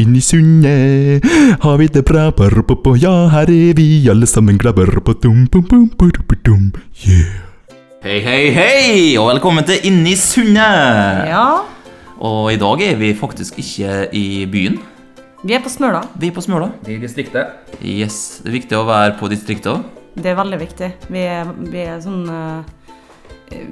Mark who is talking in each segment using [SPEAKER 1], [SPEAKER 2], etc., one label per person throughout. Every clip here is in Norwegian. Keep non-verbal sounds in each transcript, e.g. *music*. [SPEAKER 1] Inn i sundet har vi det bra. Ja, her er vi alle sammen glade. Yeah.
[SPEAKER 2] Hei, hei, hei, og velkommen til Inni sundet!
[SPEAKER 3] Ja,
[SPEAKER 2] Og i dag er vi faktisk ikke i byen.
[SPEAKER 3] vi er på Smøla.
[SPEAKER 2] Vi er på Smøla.
[SPEAKER 4] I distriktet.
[SPEAKER 2] Yes, Det er viktig å være på distriktet òg.
[SPEAKER 3] Det er veldig viktig. Vi er, vi er sånn eh,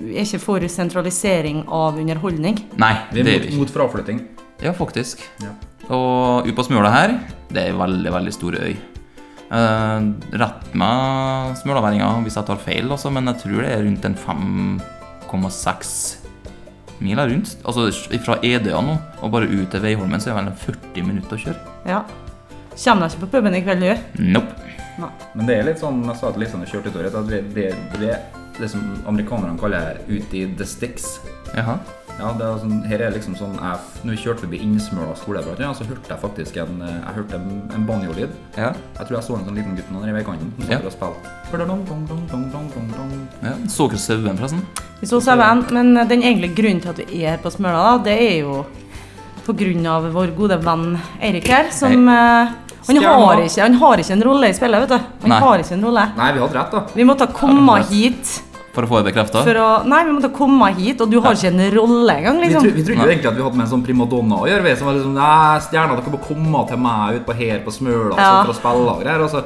[SPEAKER 3] Vi er ikke for sentralisering av underholdning.
[SPEAKER 2] Nei,
[SPEAKER 4] Vi
[SPEAKER 2] det
[SPEAKER 4] er
[SPEAKER 2] er vi ikke.
[SPEAKER 4] mot, mot fraflytting.
[SPEAKER 2] Ja, faktisk.
[SPEAKER 4] Ja.
[SPEAKER 2] Og ute på Smøla her, det er veldig, veldig stor øy. Eh, rett med smølaværinga hvis jeg tar feil, altså, men jeg tror det er rundt en 5,6 miler rundt. Altså fra Edøya nå og bare ut til Veiholmen, så er det vel en 40 minutter å kjøre.
[SPEAKER 3] Ja. Kommer deg ikke på puben i kveld, du?
[SPEAKER 2] Nope.
[SPEAKER 4] Men det er litt sånn jeg sa til Lisanne kjørte ut året, at det, det, det, det som amerikanerne kaller ut i the sticks.
[SPEAKER 2] Jaha.
[SPEAKER 4] Ja, det er sånn, her er liksom sånn jeg, f- Når vi kjørte forbi Innsmøla skole, blant annet, så hørte jeg faktisk en, eh, jeg hørte en, en banjolyd.
[SPEAKER 2] Ja.
[SPEAKER 4] Jeg tror jeg så en sånn liten gutt nå nede i veikanten som
[SPEAKER 2] Ja.
[SPEAKER 4] satt og spilte.
[SPEAKER 2] Ja, så dere sauen, forresten?
[SPEAKER 3] Vi så sauen, men den egentlige grunnen til at vi er på Smøla, da, det er jo på grunn av vår gode venn Eirik her, som eh, han, har ikke, han har ikke en rolle i spillet, vet du. Han
[SPEAKER 2] Nei.
[SPEAKER 3] har ikke en rolle.
[SPEAKER 4] Nei, vi hadde rett, da.
[SPEAKER 3] Vi måtte komme
[SPEAKER 2] Har du rett?
[SPEAKER 3] hit
[SPEAKER 2] For å få det bekrefta?
[SPEAKER 3] for å Nei, vi måtte komme hit, og du har ikke en rolle engang,
[SPEAKER 4] Vi,
[SPEAKER 3] liksom.
[SPEAKER 4] tro, vi trodde jo egentlig at vi hadde med en sånn primadonna å gjøre. Vi som var liksom Nei, stjerna, dere må komme til meg utpå her på Smøla og
[SPEAKER 3] Ja.
[SPEAKER 4] sitte og spille og greier. Og så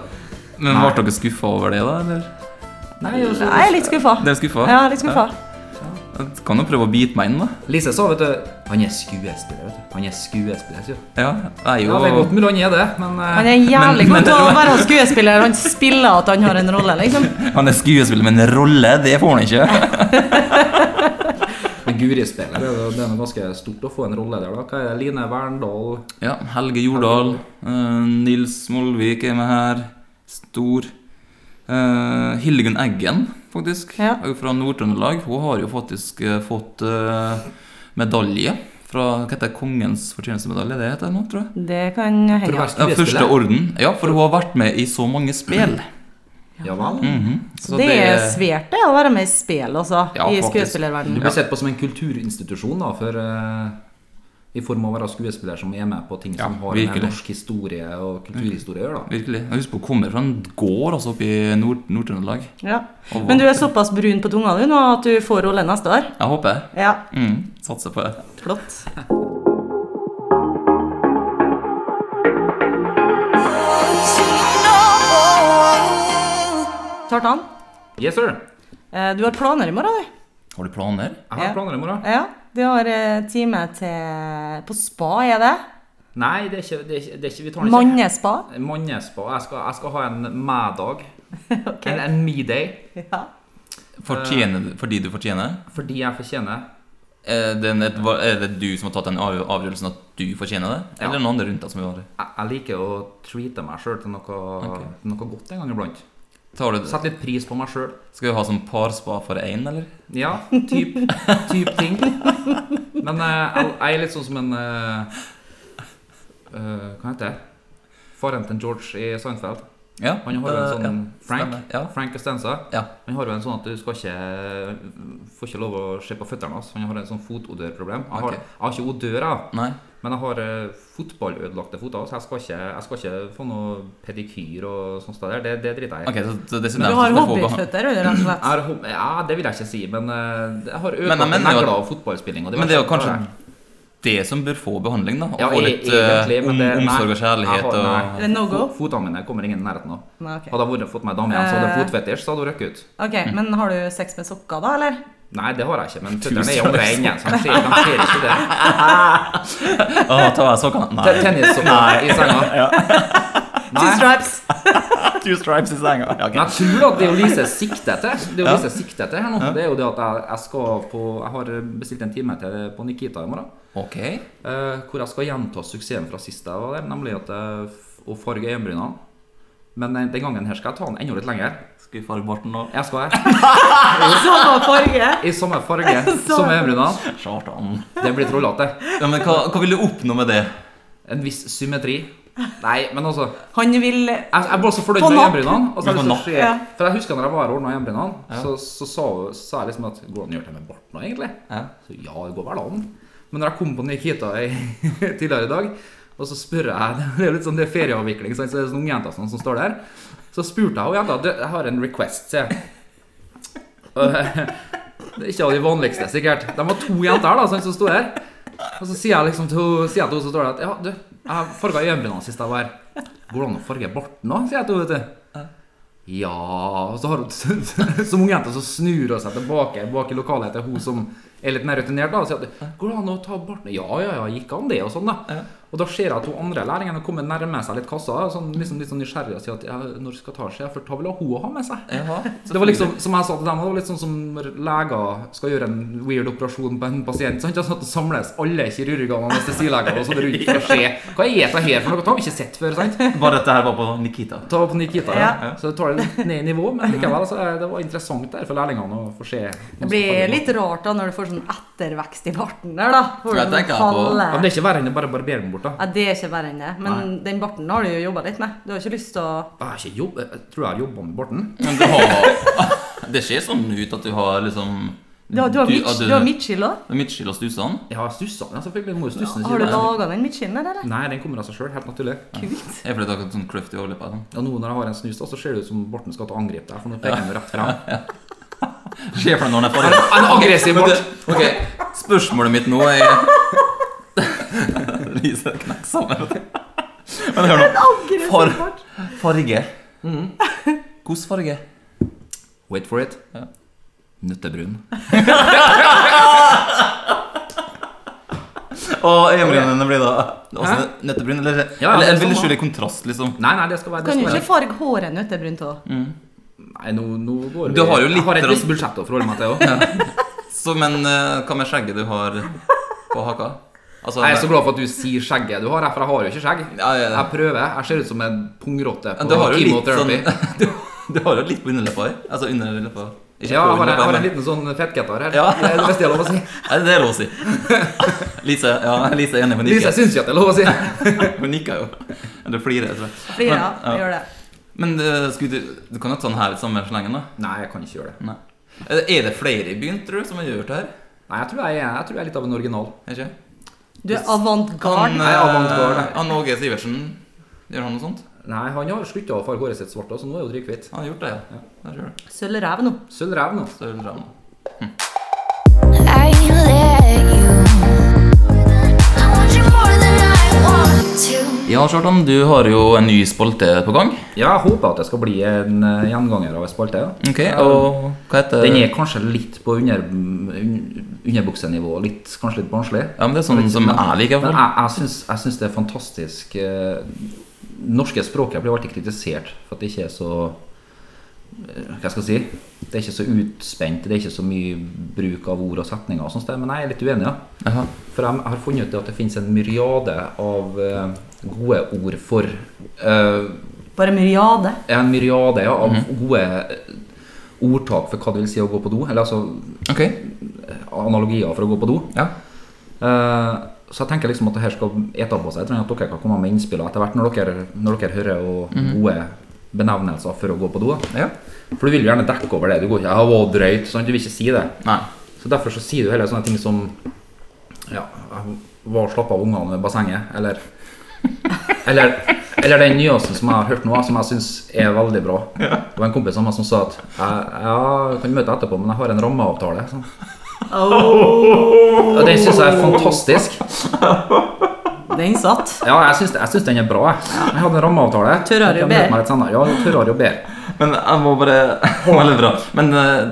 [SPEAKER 2] Men ble dere skuffa over det, da? eller?
[SPEAKER 4] Nei, altså, og så-
[SPEAKER 3] Jeg er litt skuffa.
[SPEAKER 2] Dere er skuffa?
[SPEAKER 3] Ja, liksom litt skuffa.
[SPEAKER 2] Jeg Kan jo prøve å bite meg inn, da.
[SPEAKER 4] Lise sa, vet du Han er skuespiller, vet du. Han er skuespiller, sier hun.
[SPEAKER 2] Ja, jeg er
[SPEAKER 4] Ja,
[SPEAKER 2] jo
[SPEAKER 4] det er godt mulig han er det, men eh,
[SPEAKER 3] Han er jævlig
[SPEAKER 2] Men-
[SPEAKER 3] god til
[SPEAKER 2] men-
[SPEAKER 3] å være skuespiller. Han spiller at han har en rolle, liksom.
[SPEAKER 2] Han er skuespiller, men rolle, det får han
[SPEAKER 3] *laughs*
[SPEAKER 2] ikke.
[SPEAKER 4] men Guri-spillet det, er jo- det er noe ganske stort å få en rolle der, da. Hva er det? Line Verndal
[SPEAKER 2] Ja, Helge Jordal. eh, Nils Molvik er med her. Stor. eh, Hildegunn Eggen, faktisk.
[SPEAKER 3] Ja.
[SPEAKER 2] er jo Fra Nord-Trøndelag. Hun har jo faktisk eh, fått eh, medalje fra hva heter det, Kongens fortjenestemedalje, det heter det nå, tror jeg.
[SPEAKER 3] Det kan
[SPEAKER 4] for å
[SPEAKER 3] hende.
[SPEAKER 4] være
[SPEAKER 2] Ja, første
[SPEAKER 4] skuespiller?
[SPEAKER 2] orden. Ja, for hun har vært med i så mange spill. Mhm.
[SPEAKER 4] Ja vel?
[SPEAKER 2] Mm. Så
[SPEAKER 3] det er svært det å være med i spill, altså.
[SPEAKER 2] Ja,
[SPEAKER 3] I
[SPEAKER 2] faktisk.
[SPEAKER 4] Du
[SPEAKER 3] skuespillerverdenen.
[SPEAKER 4] blir sett på som en kulturinstitusjon, da, for eh, i form av å være skuespiller som er med på ting som
[SPEAKER 2] Ja,
[SPEAKER 4] har
[SPEAKER 2] virkelig. Mm.
[SPEAKER 4] med norsk historie og kulturhistorie å gjøre, da.
[SPEAKER 2] Virkelig. Jeg husker hun kommer fra en gård altså, oppe i Nord- Nord-Trøndelag.
[SPEAKER 3] Ja. Men du er såpass brun på tunga du nå at du får rolle neste år.
[SPEAKER 2] jeg håper jeg.
[SPEAKER 3] Ja,
[SPEAKER 2] Mm, satser på det.
[SPEAKER 3] flott. Kjartan,
[SPEAKER 4] Yes, sir!
[SPEAKER 3] eh, du har planer i morgen, du.
[SPEAKER 2] Har du planer?
[SPEAKER 4] Jeg har
[SPEAKER 3] Ja.
[SPEAKER 4] planer i morgen.
[SPEAKER 3] Ja, du har eh, time til På spa, er det?
[SPEAKER 4] Nei, det er ikke, det er ikke, det er ikke Vi tar den ikke.
[SPEAKER 3] Mannespa?
[SPEAKER 4] Mannespa. Jeg skal, jeg skal ha en
[SPEAKER 3] *laughs*
[SPEAKER 4] mædag. En, en me-day.
[SPEAKER 3] Ja.
[SPEAKER 2] Fortjener
[SPEAKER 4] Eh.
[SPEAKER 2] du, fordi du fortjener?
[SPEAKER 4] Fordi jeg fortjener.
[SPEAKER 2] Er det, en- hva- er det du som har tatt den av- avgjørelsen at du fortjener det? Eller
[SPEAKER 4] Ja.
[SPEAKER 2] noen andre rundt deg som gjør det?
[SPEAKER 4] Jeg, jeg liker å treate meg sjøl til noe, til noe godt en gang iblant.
[SPEAKER 2] Tar du,
[SPEAKER 4] Sette litt pris på meg sjøl.
[SPEAKER 2] skal du ha sånn parspa for én, eller?
[SPEAKER 4] Ja, *laughs* typ, typ ting. Men eh, jeg, jeg er litt sånn som en eh, eh, Hva heter det? Faren til George i Seinfeld.
[SPEAKER 2] Ja.
[SPEAKER 4] Han har jo en
[SPEAKER 2] eh,
[SPEAKER 4] sånn Frank.
[SPEAKER 2] stemmer. Ja.
[SPEAKER 4] Frank Costanza.
[SPEAKER 2] Ja.
[SPEAKER 4] Han har jo en sånn at du skal ikke får ikke lov å se på føttene hans. Han har en sånn fotodørproblem. Jeg har,
[SPEAKER 2] Ok.
[SPEAKER 4] jeg har ikke odør, jeg.
[SPEAKER 2] Nei.
[SPEAKER 4] Men jeg har eh, fotballødelagte føtter, så jeg skal ikke, jeg skal ikke få noe pedikyr og sånt. der. Det, det driter jeg i.
[SPEAKER 2] Ok, så, så det er
[SPEAKER 3] Du
[SPEAKER 2] det
[SPEAKER 3] har
[SPEAKER 2] som skal pågå.
[SPEAKER 3] hobbyføtter, rett og
[SPEAKER 4] Jeg *laughs*
[SPEAKER 3] slett.
[SPEAKER 4] har hom- Ja, det vil jeg ikke si, men eh, jeg har
[SPEAKER 2] Men jeg
[SPEAKER 4] ødelagte
[SPEAKER 2] mener jo
[SPEAKER 4] negler
[SPEAKER 2] at-
[SPEAKER 4] av fotballspilling. og
[SPEAKER 2] Men det er jo
[SPEAKER 4] verste,
[SPEAKER 2] kanskje det som bør få behandling, da. Å
[SPEAKER 4] Ja,
[SPEAKER 2] få
[SPEAKER 4] e-
[SPEAKER 2] litt eh,
[SPEAKER 4] egentlig, men
[SPEAKER 2] om,
[SPEAKER 4] det- nei.
[SPEAKER 2] omsorg og kjærlighet
[SPEAKER 4] Jeg har-
[SPEAKER 2] og
[SPEAKER 3] Er det no go?
[SPEAKER 4] Fo- Fotene mine kommer ingen i nærheten av.
[SPEAKER 3] Nei, ok.
[SPEAKER 4] Hadde jeg vært- fått meg dame igjen, så hadde jeg
[SPEAKER 3] Eh.
[SPEAKER 4] fotfetisj, så hadde hun røkket ut.
[SPEAKER 3] Ok, Men har du sex med sokker, da, eller?
[SPEAKER 4] Nei, det har jeg ikke, men
[SPEAKER 2] Tusen
[SPEAKER 4] føttene er jo rene, så de ser, de ser ikke det.
[SPEAKER 2] Å, tar jeg
[SPEAKER 4] *laughs*
[SPEAKER 2] sokkene?
[SPEAKER 4] Te-
[SPEAKER 2] Nei.
[SPEAKER 4] Tennissokker i senga.
[SPEAKER 3] Two
[SPEAKER 4] Nei.
[SPEAKER 3] stripes!
[SPEAKER 2] Two stripes i senga. Ja, ok.
[SPEAKER 4] Men jeg tror at det er jo Lise sikter etter. Det er jo
[SPEAKER 2] Ja.
[SPEAKER 4] Lise sikter etter her nå. Det er jo det at jeg, jeg skal på Jeg har bestilt en time til på Nikita i morgen.
[SPEAKER 2] Ok.
[SPEAKER 4] eh, hvor jeg skal gjenta suksessen fra sist jeg var der, nemlig at jeg f- å farge øyenbrynene. Men eh, den gangen her skal jeg ta den enda litt lenger.
[SPEAKER 2] Skal vi farge barten nå?
[SPEAKER 4] Jeg skal jeg.
[SPEAKER 3] Samme farge!
[SPEAKER 4] I samme farge
[SPEAKER 2] *laughs*
[SPEAKER 4] som øyenbrynene.
[SPEAKER 2] Satan.
[SPEAKER 4] Det blir trollete.
[SPEAKER 2] Ja, men hva, hva vil du oppnå med det?
[SPEAKER 4] En viss symmetri. Nei, men altså
[SPEAKER 3] Han vil
[SPEAKER 4] Jeg, jeg ble så fornøyd
[SPEAKER 3] Få
[SPEAKER 4] med
[SPEAKER 3] napp.
[SPEAKER 4] øyenbrynene. Og så har jeg
[SPEAKER 2] Du får
[SPEAKER 4] lyst til å se-
[SPEAKER 3] napp.
[SPEAKER 4] For jeg husker når jeg var og ordna øyenbrynene,
[SPEAKER 2] Ja.
[SPEAKER 4] så, så, sa hun- sa jeg liksom at Går det an å gjøre det med bart nå, egentlig?
[SPEAKER 2] Ja.
[SPEAKER 4] Så ja, det går vel an. Men når jeg kom på Nikita i, *laughs* tidligere i dag, og så spør jeg *laughs* Det er litt sånn det er ferieavvikling, sant? så det er sånne ungjenter som står der. Så spurte jeg henne jenta «Du, Jeg har en request, sier jeg. Og, *laughs* Det er ikke av de vanligste, sikkert. De var to jenter her da, sant, som sto her. Og så sier jeg liksom til hun sier jeg til hun som står der at Ja, du, jeg farga øyenbrynene sist jeg var her. Går det an å farge barten òg? sier jeg til hun, vet du. Ja Og så har hun Som ung jente så snur hun seg tilbake bak i lokalet til hun som er litt mer rutinert, da, og sier at Går det an å ta barten Ja, ja, ja, gikk an det? Og sånn, da.
[SPEAKER 2] Ja.
[SPEAKER 4] Og da ser jeg at hun andre lærlingen har kommet nærme seg litt kassa, og sånn, liksom litt sånn nysgjerrig og sier at ja, når skal ta seg? For da vil hun ha med seg.
[SPEAKER 2] Jaha,
[SPEAKER 4] Det var liksom, som jeg sa til dem, det var litt sånn som når leger skal gjøre en weird operasjon på en pasient. Sant? Sånn at det samles alle kirurgene og anestesilegene og sånn rundt
[SPEAKER 3] *laughs*
[SPEAKER 4] for å se hva er det her for noe. Det har vi ikke sett før. sant?
[SPEAKER 2] Bare dette her var på Nikita.
[SPEAKER 4] Ta på Nikita, ja.
[SPEAKER 2] Ja.
[SPEAKER 4] så det tar det litt ned i nivå, men likevel så er det var interessant der for lærlingene å få se.
[SPEAKER 3] Det blir litt rart da når du får sånn ettervekst i barten der, da. Hvor
[SPEAKER 2] Jeg
[SPEAKER 3] den
[SPEAKER 2] tenker på-
[SPEAKER 4] ja,
[SPEAKER 3] faller.
[SPEAKER 4] men Det er ikke verre enn å bare barbere den bort, da.
[SPEAKER 3] Ja, det er ikke verre enn det. Men den barten har du jo jobba litt med. Du har ikke lyst til å
[SPEAKER 4] Jeg, har ikke jobb, jeg tror jeg har jobba med barten.
[SPEAKER 2] Men du har *laughs* Det ser sånn ut at du har liksom
[SPEAKER 3] Du har, du har, midt,
[SPEAKER 2] at
[SPEAKER 3] du har midtskill òg.
[SPEAKER 2] Midtskill og stusene?
[SPEAKER 4] Jeg har stussa den, selvfølgelig. Må jo stusse den
[SPEAKER 3] Har du
[SPEAKER 4] siden.
[SPEAKER 3] laga den midtskillen der, eller?
[SPEAKER 4] Nei, den kommer av seg sjøl, helt naturlig.
[SPEAKER 3] Kult.
[SPEAKER 2] *laughs* Er det fordi dere har sånn kløft i overleppa? Sånn.
[SPEAKER 4] Og nå når jeg har en snus, da, så ser det ut som Borten skal til å angripe deg, for nå peker han jo rett frem.
[SPEAKER 2] Skjer for deg når den er
[SPEAKER 4] En,
[SPEAKER 2] ferdig?
[SPEAKER 4] en aggressiv
[SPEAKER 2] Men
[SPEAKER 4] bart.
[SPEAKER 2] det- Ok, spørsmålet mitt nå er *laughs* Lise knekk sammen. Men hør nå. For-
[SPEAKER 3] Aggressiv bart.
[SPEAKER 2] Farge. Hvilken farge?
[SPEAKER 4] Wait for it.
[SPEAKER 2] Ja.
[SPEAKER 4] Nøttebrun.
[SPEAKER 2] Og øyenbrynene blir da også nøttebryn? Eller,
[SPEAKER 4] Ja,
[SPEAKER 2] eller,
[SPEAKER 4] det er
[SPEAKER 2] eller vil du
[SPEAKER 4] sånn,
[SPEAKER 2] skjule kontrast, liksom?
[SPEAKER 4] Nei, nei, det skal være det
[SPEAKER 3] Kan du
[SPEAKER 4] skal
[SPEAKER 3] ikke
[SPEAKER 4] være.
[SPEAKER 3] farge håret nøttebrunt òg?
[SPEAKER 4] Nei, nå, nå går vi
[SPEAKER 2] Du har jo litt
[SPEAKER 4] Jeg har et
[SPEAKER 2] rann-
[SPEAKER 4] visst budsjett å forholde meg
[SPEAKER 2] *laughs*
[SPEAKER 4] til òg.
[SPEAKER 2] Så, men eh, hva med skjegget du har på haka? Altså,
[SPEAKER 4] Jeg er så glad for at du sier skjegget du har, jeg, for jeg har jo ikke skjegg.
[SPEAKER 2] Ja, ja, ja.
[SPEAKER 4] Jeg prøver. Jeg ser ut som en pungrotte
[SPEAKER 2] Men du
[SPEAKER 4] på
[SPEAKER 2] har jo litt
[SPEAKER 4] chemotherapy.
[SPEAKER 2] sånn *laughs* du, du har jo litt på underleppa her. Altså under leppa. Ikke
[SPEAKER 4] Ja,
[SPEAKER 2] på
[SPEAKER 4] jeg har, jeg
[SPEAKER 2] underleppa,
[SPEAKER 4] har en
[SPEAKER 2] men-
[SPEAKER 4] liten sånn fettgetar her.
[SPEAKER 2] Ja.
[SPEAKER 4] Det er det beste jeg har lov å
[SPEAKER 2] *laughs*
[SPEAKER 4] si.
[SPEAKER 2] Nei, det er lov å si. Lise, ja, Lise er enig, hun
[SPEAKER 4] Lise
[SPEAKER 2] nikker.
[SPEAKER 4] syns ikke at det er lov å si.
[SPEAKER 2] *laughs* Hun nikker jo. Eller flirer, tror jeg.
[SPEAKER 3] Flirer av.
[SPEAKER 2] Men, ja.
[SPEAKER 3] Gjør det.
[SPEAKER 2] Men eh, skulle du, du kan jo ta den her i samme slengen, da.
[SPEAKER 4] Nei, jeg kan ikke gjøre det.
[SPEAKER 2] Nei. Er det- Er det flere i byen, tror du, som har gjort det her?
[SPEAKER 4] Nei, jeg tror jeg, er- jeg tror jeg er litt av en original.
[SPEAKER 2] Er ikke?
[SPEAKER 3] Du er avantgarde.
[SPEAKER 2] Han,
[SPEAKER 4] Nei, avantgarde.
[SPEAKER 2] eh, han Åge Sivertsen, gjør han noe sånt?
[SPEAKER 4] Nei, han har slutta å farge håret sitt svart, da, så nå er jo drikkhvitt.
[SPEAKER 2] Han har gjort det, ja. Der ser du.
[SPEAKER 3] Sølvrev nå.
[SPEAKER 4] Sølvrev nå.
[SPEAKER 2] Så er det bra nå.
[SPEAKER 5] I let you. I want you more than I want to.
[SPEAKER 2] Ja, Kjartan, du har jo en ny spalte på gang.
[SPEAKER 4] Ja, jeg håper at det skal bli en eh, gjenganger av en spalte. ja. Eh,
[SPEAKER 2] Ok, Og hva heter
[SPEAKER 4] Den er kanskje litt på under, un- underbuksenivå, litt, kanskje litt barnslig.
[SPEAKER 2] Ja, men Det er sånn som jeg liker. i hvert
[SPEAKER 4] Men
[SPEAKER 2] fall.
[SPEAKER 4] jeg, jeg, syns, jeg syns det er fantastisk eh, Norske språket blir alltid kritisert for at det ikke er så eh, Hva skal jeg si? Det er ikke så utspent, det er ikke så mye bruk av ord og setninger. og sånt der, Men jeg er litt uenig. Ja.
[SPEAKER 2] Jaha.
[SPEAKER 4] For jeg har funnet ut at det finnes en myriade av eh, gode ord for eh,
[SPEAKER 3] Bare myriade.
[SPEAKER 4] En myriade ja, av gode eh, ordtak for hva det vil si å gå på do. Eller altså eh,
[SPEAKER 2] Ok,
[SPEAKER 4] analogier for å gå på do.
[SPEAKER 2] ja.
[SPEAKER 4] Eh, Så jeg tenker liksom at det her skal ete på seg. Jeg trenger at dere kan komme med innspill etter hvert når dere, når dere hører og gode benevnelser for å gå på do. da.
[SPEAKER 2] ja.
[SPEAKER 4] For du vil jo gjerne dekke over det. Du går ikke «Ja, hva drøyt», sant? Du vil ikke si det.
[SPEAKER 2] Nei.
[SPEAKER 4] Så derfor så sier du heller sånne ting som Ja, jeg var og slapp av ungene ved bassenget, eller Eller, eller den nyeste som jeg har hørt nå, som jeg syns er veldig bra. Det var en kompis av meg som sa at «Jeg- Ja, jeg kan møte deg etterpå, men jeg har en rammeavtale. Sånn. Og den syns jeg er fantastisk.
[SPEAKER 3] Den satt.
[SPEAKER 4] Ja, jeg syns, jeg syns den er bra. jeg. Jeg hadde en rammeavtale.
[SPEAKER 3] Tørrere og
[SPEAKER 4] Jeg kan møte
[SPEAKER 3] bedre.
[SPEAKER 4] meg litt senere. Ja, tørrere og bedre.
[SPEAKER 2] Men jeg må bare *laughs* Veldig bra. Men eh,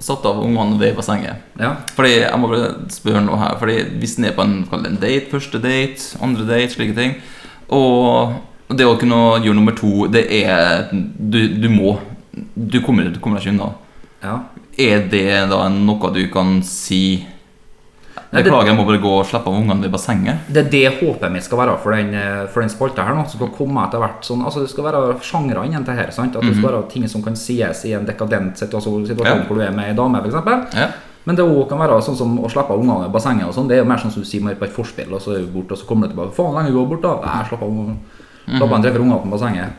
[SPEAKER 2] satt av ungene ved bassenget.
[SPEAKER 4] Ja.
[SPEAKER 2] Fordi jeg må bare spørre noe her Fordi Hvis den er på en, kall det en date, første date, andre date, slike ting Og det å kunne gjøre nummer to, det er Du, du må. Du kommer, du kommer deg ikke unna.
[SPEAKER 4] ja.
[SPEAKER 2] Er det da noe du kan si
[SPEAKER 4] Nei, det-
[SPEAKER 2] Beklager, jeg må bare gå og slappe av ungene ved bassenget.
[SPEAKER 4] Det er det håpet mitt skal være for den, eh, for den spalta her nå. som skal komme etter hvert sånn, altså Det skal være sjangre innen det her. sant? At Det skal være ting som kan sies i en dekadent situasjon, situasjon
[SPEAKER 2] Mhm. Ja.
[SPEAKER 4] hvor du er med ei dame, f.eks.
[SPEAKER 2] Ja.
[SPEAKER 4] Men det også kan være sånn som å slippe av ungene i bassenget. og sånn, Det er jo mer sånn som du sier mer på et forspill, og så er du borte, og så kommer du tilbake. Faen, lenge går bort, da. Nei, slapp av.
[SPEAKER 2] Mhm.
[SPEAKER 4] Pappaen treffer ungene på bassenget.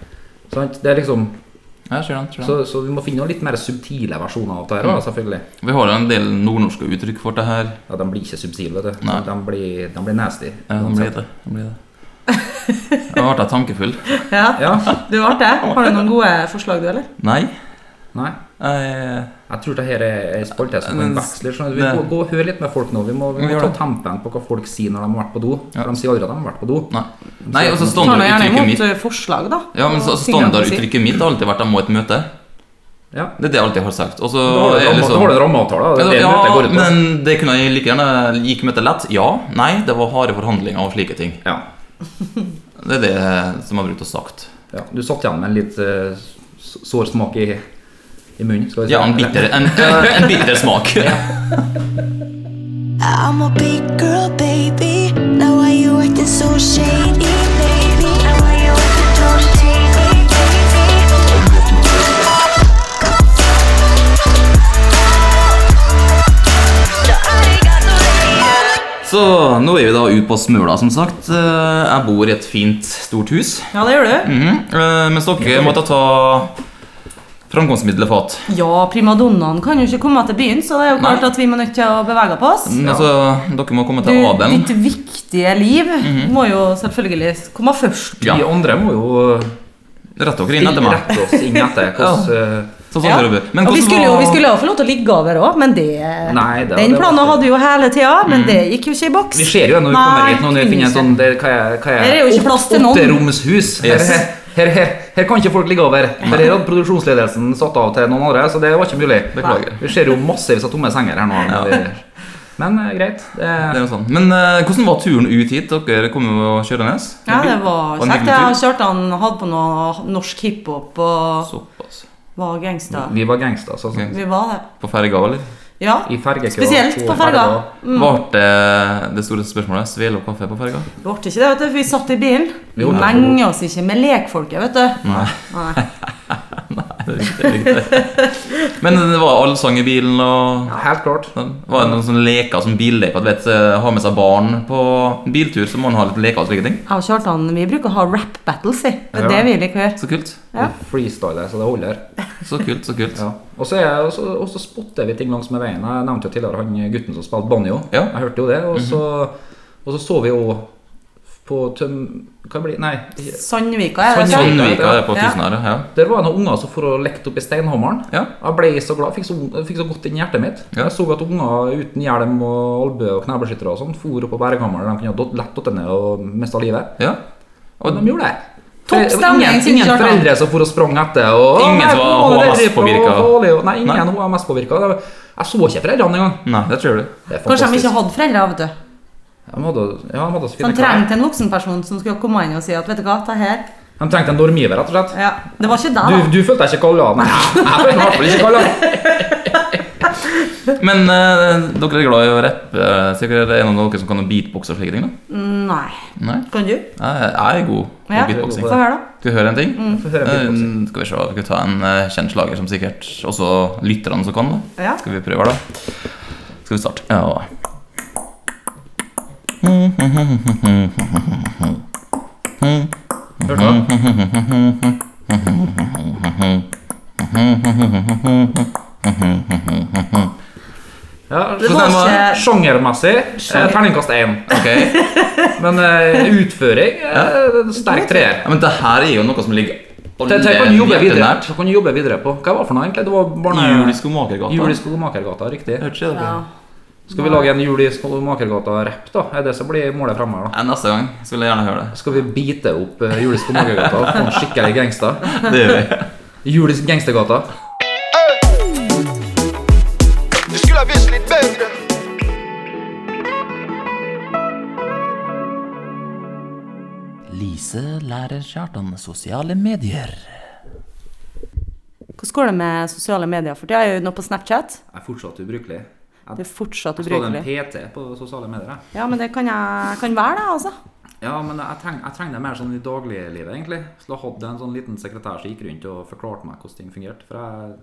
[SPEAKER 4] Sant? Det er liksom,
[SPEAKER 2] Jeg ser den, ser den.
[SPEAKER 4] så, så vi må finne noen litt mer subtile versjoner av det her. da,
[SPEAKER 2] Mhm.
[SPEAKER 4] selvfølgelig.
[SPEAKER 2] Vi har jo en del nordnorske uttrykk for det her.
[SPEAKER 4] Ja, De blir ikke subtile, vet du.
[SPEAKER 2] Nei.
[SPEAKER 4] De blir, de blir nasty.
[SPEAKER 2] Ja, den blir det. Den blir det. Eh, Jeg ble tankefull.
[SPEAKER 3] Ja,
[SPEAKER 4] Ja,
[SPEAKER 3] du ble det. Har du noen gode forslag, du, eller?
[SPEAKER 2] Nei.
[SPEAKER 4] nei.
[SPEAKER 2] Jeg,
[SPEAKER 4] Jeg tror det her er en spalte som
[SPEAKER 2] Ja,
[SPEAKER 4] kan
[SPEAKER 2] men-
[SPEAKER 4] veksle. Sånn. at Vi
[SPEAKER 2] det-
[SPEAKER 4] må gå og høre litt med folk nå. Vi må, vi
[SPEAKER 2] Vi
[SPEAKER 4] må
[SPEAKER 2] gjør
[SPEAKER 4] ta
[SPEAKER 2] det.
[SPEAKER 4] tempen på hva folk sier når de har vært på do.
[SPEAKER 2] Ja.
[SPEAKER 4] For de sier aldri at de har vært på do.
[SPEAKER 2] nei. nei og så
[SPEAKER 3] Ta nå gjerne
[SPEAKER 2] standarduttrykket
[SPEAKER 3] imot
[SPEAKER 2] mitt
[SPEAKER 3] eh, forslag, da.
[SPEAKER 2] Ja, men så altså
[SPEAKER 3] og ting dere sier.
[SPEAKER 2] Standarduttrykket mitt har alltid vært 'jeg må et møte'.
[SPEAKER 4] Ja.
[SPEAKER 2] Det er det jeg alltid har sagt. Og så
[SPEAKER 4] Da har du
[SPEAKER 2] er
[SPEAKER 4] en
[SPEAKER 2] jeg
[SPEAKER 4] ramme-
[SPEAKER 2] liksom-
[SPEAKER 4] da har du en rammeavtale. da. Det er det møtet
[SPEAKER 2] ja,
[SPEAKER 4] går ut på.
[SPEAKER 2] men det kunne jeg like gjerne Gikk møtet lett? Ja. Nei, det var harde forhandlinger og slike ting.
[SPEAKER 4] Ja.
[SPEAKER 2] Det er det som jeg har brukt å sagt.
[SPEAKER 4] ja. Du satt igjen med en litt eh, s- sår smak i, i munnen. Skal vi si.
[SPEAKER 2] Ja, en bitter, en, eh, en bitter *laughs* smak.
[SPEAKER 5] I'm a big girl, baby. Now why you acting so shady, baby? Now why you acting so shady, baby?
[SPEAKER 2] Så nå er vi da ute på Smøla, som sagt. Eh, Jeg bor i et fint, stort hus.
[SPEAKER 3] Ja, det gjør du.
[SPEAKER 2] Mhm. Eh, Mens dere måtte ta framkomstmiddelet fatt.
[SPEAKER 3] Ja, primadonnaen kan jo ikke komme til byen, så det er jo klart
[SPEAKER 2] Nei.
[SPEAKER 3] at vi må nødt til å bevege på oss.
[SPEAKER 2] Men
[SPEAKER 4] Ja.
[SPEAKER 2] Altså, dere må komme
[SPEAKER 3] Du,
[SPEAKER 2] til adelen.
[SPEAKER 3] ditt viktige liv må jo selvfølgelig komme først.
[SPEAKER 2] Mhm. Ja.
[SPEAKER 4] Vi andre må jo
[SPEAKER 2] Rett dere inn etter meg.
[SPEAKER 4] rette oss inn
[SPEAKER 2] *laughs*
[SPEAKER 4] etter hvordan eh,
[SPEAKER 2] Sånn,
[SPEAKER 3] Ja.
[SPEAKER 2] sånn, dere bør. Men
[SPEAKER 3] og vi
[SPEAKER 2] hvordan
[SPEAKER 3] skulle, jo,
[SPEAKER 2] var-
[SPEAKER 3] vi skulle jo få lov til å ligge over òg, men det,
[SPEAKER 4] Nei, det-
[SPEAKER 3] den
[SPEAKER 4] det var
[SPEAKER 3] planen
[SPEAKER 4] ikke-
[SPEAKER 3] hadde vi jo hele tida, men det
[SPEAKER 2] Mhm.
[SPEAKER 3] gikk jo ikke i boks.
[SPEAKER 4] Vi ser jo når vi kommer hit nå, når vi
[SPEAKER 3] kunne
[SPEAKER 4] finner
[SPEAKER 3] ikke.
[SPEAKER 4] en sånn der, hva er, hva
[SPEAKER 3] Her er jo ikke plass til noen.
[SPEAKER 4] Åtteromshus. Her,
[SPEAKER 2] Yes.
[SPEAKER 4] her, her, her, her kan ikke folk ligge over. For her hadde produksjonsledelsen satt av til noen andre, så det var ikke mulig.
[SPEAKER 2] Beklager.
[SPEAKER 4] Vi ser jo massevis av tomme senger her nå. Men, eh, greit.
[SPEAKER 2] Det
[SPEAKER 4] Det,
[SPEAKER 2] er jo sånn. Men eh, hvordan var turen ut hit? Dere kom jo kjørende?
[SPEAKER 3] Ja, det var
[SPEAKER 2] en
[SPEAKER 3] kjekt.
[SPEAKER 2] hyggelig
[SPEAKER 3] Jeg
[SPEAKER 2] tur.
[SPEAKER 3] har kjørt han, hadde på noe norsk hiphop og
[SPEAKER 2] Såpass.
[SPEAKER 3] var gangster.
[SPEAKER 4] vi var gangster, så, så.
[SPEAKER 2] Ok.
[SPEAKER 3] Vi var det.
[SPEAKER 2] På ferga, eller?
[SPEAKER 3] Ja.
[SPEAKER 4] I fergekøa.
[SPEAKER 3] Spesielt på ferga.
[SPEAKER 2] Var det det store spørsmålet svele opp kaffe på ferga?
[SPEAKER 3] Det ble ikke det, vet du. for Vi satt i bilen.
[SPEAKER 4] Vi
[SPEAKER 3] Vi
[SPEAKER 4] holdt på.
[SPEAKER 3] menger oss ikke med lekfolket, vet du.
[SPEAKER 2] Nei.
[SPEAKER 3] Nei.
[SPEAKER 2] Det er riktig, det er riktig. Men det var allsang i bilen, og sånn.
[SPEAKER 4] Helt klart.
[SPEAKER 2] var det noen sånne leker som billeker? at Vet, eh, ha med seg barn på biltur, så må man ha litt leker og slike ting.
[SPEAKER 3] Jeg og Kjartan vi bruker å ha rap battles. i. Det er
[SPEAKER 4] Ja.
[SPEAKER 3] det vi liker å gjøre.
[SPEAKER 2] Så kult.
[SPEAKER 3] Ja.
[SPEAKER 4] Freestyle, så det holder.
[SPEAKER 2] Så kult, så kult.
[SPEAKER 4] Ja. Og så er- og så- og så spotter vi ting langs med veien. Jeg nevnte jo tidligere han eh, gutten som spilte banjo.
[SPEAKER 2] Ja. Mhm.
[SPEAKER 4] Jeg hørte jo det. Og så, og så så vi jo på tøm... Hva blir det? Nei. ikke-
[SPEAKER 3] Sandvika er det.
[SPEAKER 4] Sandvika.
[SPEAKER 3] ikke?
[SPEAKER 2] Sandvika er på
[SPEAKER 3] Ja.
[SPEAKER 2] Tusenæret. Ja.
[SPEAKER 4] Der var det noen unger som for å lekte opp i steinhammeren.
[SPEAKER 2] Ja.
[SPEAKER 4] Jeg ble så glad, fikk så, fikk så godt inn i hjertet mitt.
[SPEAKER 2] Ja.
[SPEAKER 4] Jeg så at unger uten hjelm og albue og knebeskyttere og sånn for opp på berghammeren. De kunne ha dott- lett datt ned og mista livet.
[SPEAKER 2] ja.
[SPEAKER 4] Og de gjorde det.
[SPEAKER 3] Topp
[SPEAKER 4] Det var
[SPEAKER 3] stemning,
[SPEAKER 4] ingen,
[SPEAKER 3] synes jeg,
[SPEAKER 4] ingen
[SPEAKER 3] da.
[SPEAKER 4] foreldre som for og sprang etter. Og,
[SPEAKER 2] Ingen
[SPEAKER 4] «Å, nei,
[SPEAKER 2] som var
[SPEAKER 4] nå er det
[SPEAKER 2] HMS
[SPEAKER 4] dritt, og
[SPEAKER 2] påvirket.
[SPEAKER 4] farlig», og- Nei, ingen
[SPEAKER 2] Nei.
[SPEAKER 4] HMS-påvirka. Jeg så ikke foreldrene engang.
[SPEAKER 2] Nei, det tror du.
[SPEAKER 4] Det er
[SPEAKER 3] Kanskje de
[SPEAKER 4] fantastisk.
[SPEAKER 3] ikke hadde foreldre, vet du.
[SPEAKER 4] De hadde, ja, de hadde så
[SPEAKER 3] Så
[SPEAKER 4] fine
[SPEAKER 3] han
[SPEAKER 4] klær.
[SPEAKER 3] trengte en voksenperson som skulle komme inn og si at vet du hva, ta her.
[SPEAKER 4] De trengte en dormiver, rett og slett.
[SPEAKER 3] Ja. Det var ikke
[SPEAKER 4] Du,
[SPEAKER 3] deg, da.
[SPEAKER 4] du følte deg ikke kalla? Nei, *laughs* jeg følte meg i hvert fall ikke kalla.
[SPEAKER 2] Men eh, dere er glad i å rappe. Sikkert er det en av dere som kan beatboxe og slike ting? da?
[SPEAKER 3] Nei.
[SPEAKER 2] Nei?
[SPEAKER 3] Kan du?
[SPEAKER 2] Jeg jeg er god på
[SPEAKER 3] Ja.
[SPEAKER 2] beatboxing.
[SPEAKER 3] Få høre, da.
[SPEAKER 2] Skal vi høre en ting?
[SPEAKER 4] Få høre beatboxing.
[SPEAKER 2] Eh, skal vi se, vi kan ta en eh, kjent slager som sikkert også lytterne som kan. da.
[SPEAKER 3] Ja.
[SPEAKER 2] Skal vi prøve her, da? Skal vi starte? Ja.
[SPEAKER 4] Hørte *laughs* du? Ja,
[SPEAKER 3] Det
[SPEAKER 4] så
[SPEAKER 3] var
[SPEAKER 4] den var
[SPEAKER 3] ikke-
[SPEAKER 4] Sjangermessig eh, terningkast én.
[SPEAKER 2] Ok.
[SPEAKER 4] Men eh, utføring eh, sterk treer.
[SPEAKER 2] Ja, men det her er jo noe som ligger
[SPEAKER 4] Det det kan du jobbe videre det kan du jobbe videre på. Hva var det for noe, egentlig? Det var barne...
[SPEAKER 2] Jul i Skomakergata.
[SPEAKER 4] Jul i Skomakergata, riktig.
[SPEAKER 2] Hørte ikke dere?
[SPEAKER 3] Ja.
[SPEAKER 4] Skal vi lage en Jul i Skomakergata-rapp, da? Er det som blir målet fremover, da?
[SPEAKER 2] Ja, Neste gang skulle jeg gjerne høre
[SPEAKER 4] *laughs*
[SPEAKER 2] det.
[SPEAKER 4] Skal vi bite opp uh, Julis Kommagegata og få en skikkelig gangster?
[SPEAKER 2] Det gjør vi.
[SPEAKER 4] Julis Gangstergata.
[SPEAKER 6] Det skulle ha visst litt bedre.
[SPEAKER 2] Lise lærer Kjartan sosiale medier.
[SPEAKER 3] Hvordan går det med sosiale medier for tida? Er du nå på Snapchat?
[SPEAKER 4] Jeg er fortsatt ubrukelig.
[SPEAKER 3] Det er fortsatt
[SPEAKER 4] Står det en
[SPEAKER 3] ubrukelig.
[SPEAKER 4] PT på sosiale medier? jeg?
[SPEAKER 3] Ja, men det kan jeg kan være, det, altså.
[SPEAKER 4] Ja, men jeg trenger, jeg trenger det mer sånn i dagliglivet, egentlig. Skulle ha hatt en sånn liten sekretær som gikk rundt og forklarte meg hvordan ting fungerte. For jeg,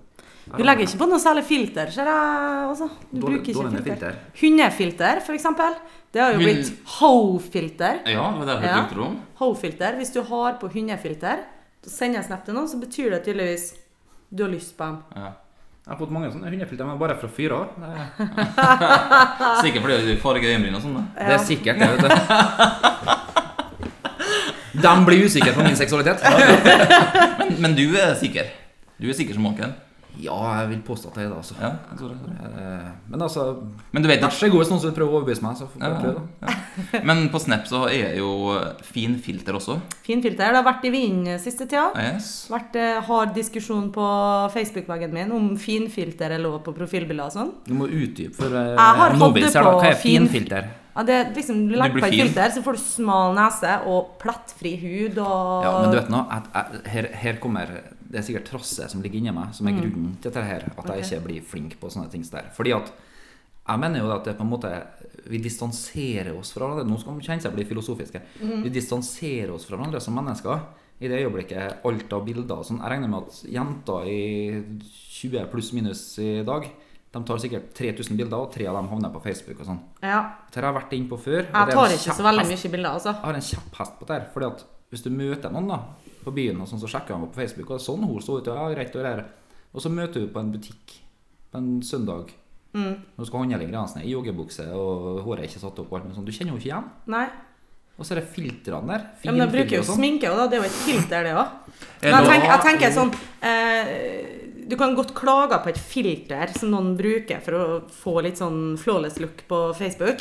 [SPEAKER 4] jeg
[SPEAKER 3] Du legger ikke på noe særlig filter, ser jeg også. Du
[SPEAKER 4] Dårlig-
[SPEAKER 3] bruker
[SPEAKER 4] dårlig
[SPEAKER 3] ikke
[SPEAKER 4] med
[SPEAKER 3] filter.
[SPEAKER 4] filter.
[SPEAKER 3] Hundefilter, for eksempel. Det har jo
[SPEAKER 2] Hund-
[SPEAKER 3] blitt ho-filter.
[SPEAKER 2] Ja, det var det jeg hørte
[SPEAKER 3] Ja.
[SPEAKER 2] rykter om.
[SPEAKER 3] Ho-filter. Hvis du har på hundefilter, så sender jeg snap til noen, så betyr det tydeligvis du har lyst på dem.
[SPEAKER 2] Ja.
[SPEAKER 4] Jeg har fått mange sånne hundefilter, men bare fra fyra. Det,
[SPEAKER 2] Sikkert fordi du farger øyenbryn og sånn. da.
[SPEAKER 4] det er sikkert, det, vet du. De blir usikre på min seksualitet.
[SPEAKER 2] Men, men du er sikker. Du er sikker som måken.
[SPEAKER 4] Ja, jeg vil påstå at jeg er det, altså.
[SPEAKER 2] Ja, sorry, sorry.
[SPEAKER 4] Eh, Men altså,
[SPEAKER 2] Men du vet
[SPEAKER 4] vær så god hvis noen skulle prøve å overbevise meg, så får
[SPEAKER 2] Ja,
[SPEAKER 4] jeg prøve. da.
[SPEAKER 2] ja. Men på Snap så er jeg jo fin filter også.
[SPEAKER 3] Fin filter. Det har vært i vinden siste tida.
[SPEAKER 2] Yes.
[SPEAKER 3] Vært eh, hard diskusjon på Facebook-veggen min om finfilter er lov på profilbilder og sånn.
[SPEAKER 4] Du må utdype for eh,
[SPEAKER 3] har hatt det
[SPEAKER 4] noviser, da.
[SPEAKER 3] på
[SPEAKER 4] Hva er
[SPEAKER 3] fin-
[SPEAKER 4] finfilter?
[SPEAKER 3] Ja, det er liksom, du
[SPEAKER 2] blir
[SPEAKER 3] legger på et
[SPEAKER 2] fin.
[SPEAKER 3] filter, så får du smal nese og plettfri hud og
[SPEAKER 4] Ja, men du vet nå, at jeg, her, her kommer Det er sikkert trasse som ligger inni meg,
[SPEAKER 3] Mm.
[SPEAKER 4] som er grunnen til dette her. At jeg ikke blir flink på sånne ting der. Fordi at jeg mener jo at det er på en måte vi distanserer oss fra hverandre. Nå skal man kjenne seg bli filosofiske.
[SPEAKER 3] Mm.
[SPEAKER 4] Vi distanserer oss fra hverandre som mennesker. I det øyeblikket alt av bilder og sånn Jeg regner med at jenter i 20 pluss minus i dag, de tar sikkert 3000 bilder, og tre av dem havner på Facebook og sånn.
[SPEAKER 3] Ja.
[SPEAKER 4] Dette har jeg vært inne på før. og det
[SPEAKER 3] Jeg
[SPEAKER 4] er en
[SPEAKER 3] tar ikke så veldig
[SPEAKER 4] kjepphest.
[SPEAKER 3] mye bilder, altså.
[SPEAKER 4] Jeg har en kjapp hest på det her. Fordi at hvis du møter noen da på byen, og sånn, så sjekker han opp på Facebook, og sånn hun så ut, ja, greit, du er her. Og så møter du på en butikk på en søndag.
[SPEAKER 3] Mm.
[SPEAKER 4] Når du skal handle inn greiene sine i joggebukse, og håret er ikke satt opp, og alt mulig sånt. Du kjenner jo ikke igjen.
[SPEAKER 3] Nei.
[SPEAKER 4] Og så er det filtrene der.
[SPEAKER 3] Ja, men jeg
[SPEAKER 4] finfilter
[SPEAKER 3] bruker jo
[SPEAKER 4] og sånn.
[SPEAKER 3] sminke, og da. Det er jo et filter, det
[SPEAKER 4] *laughs*
[SPEAKER 3] òg.
[SPEAKER 2] Er
[SPEAKER 3] Men jeg
[SPEAKER 2] det-
[SPEAKER 3] tenker, jeg tenker sånn eh, Du kan godt klage på et filter som noen bruker for å få litt sånn flawless look på Facebook.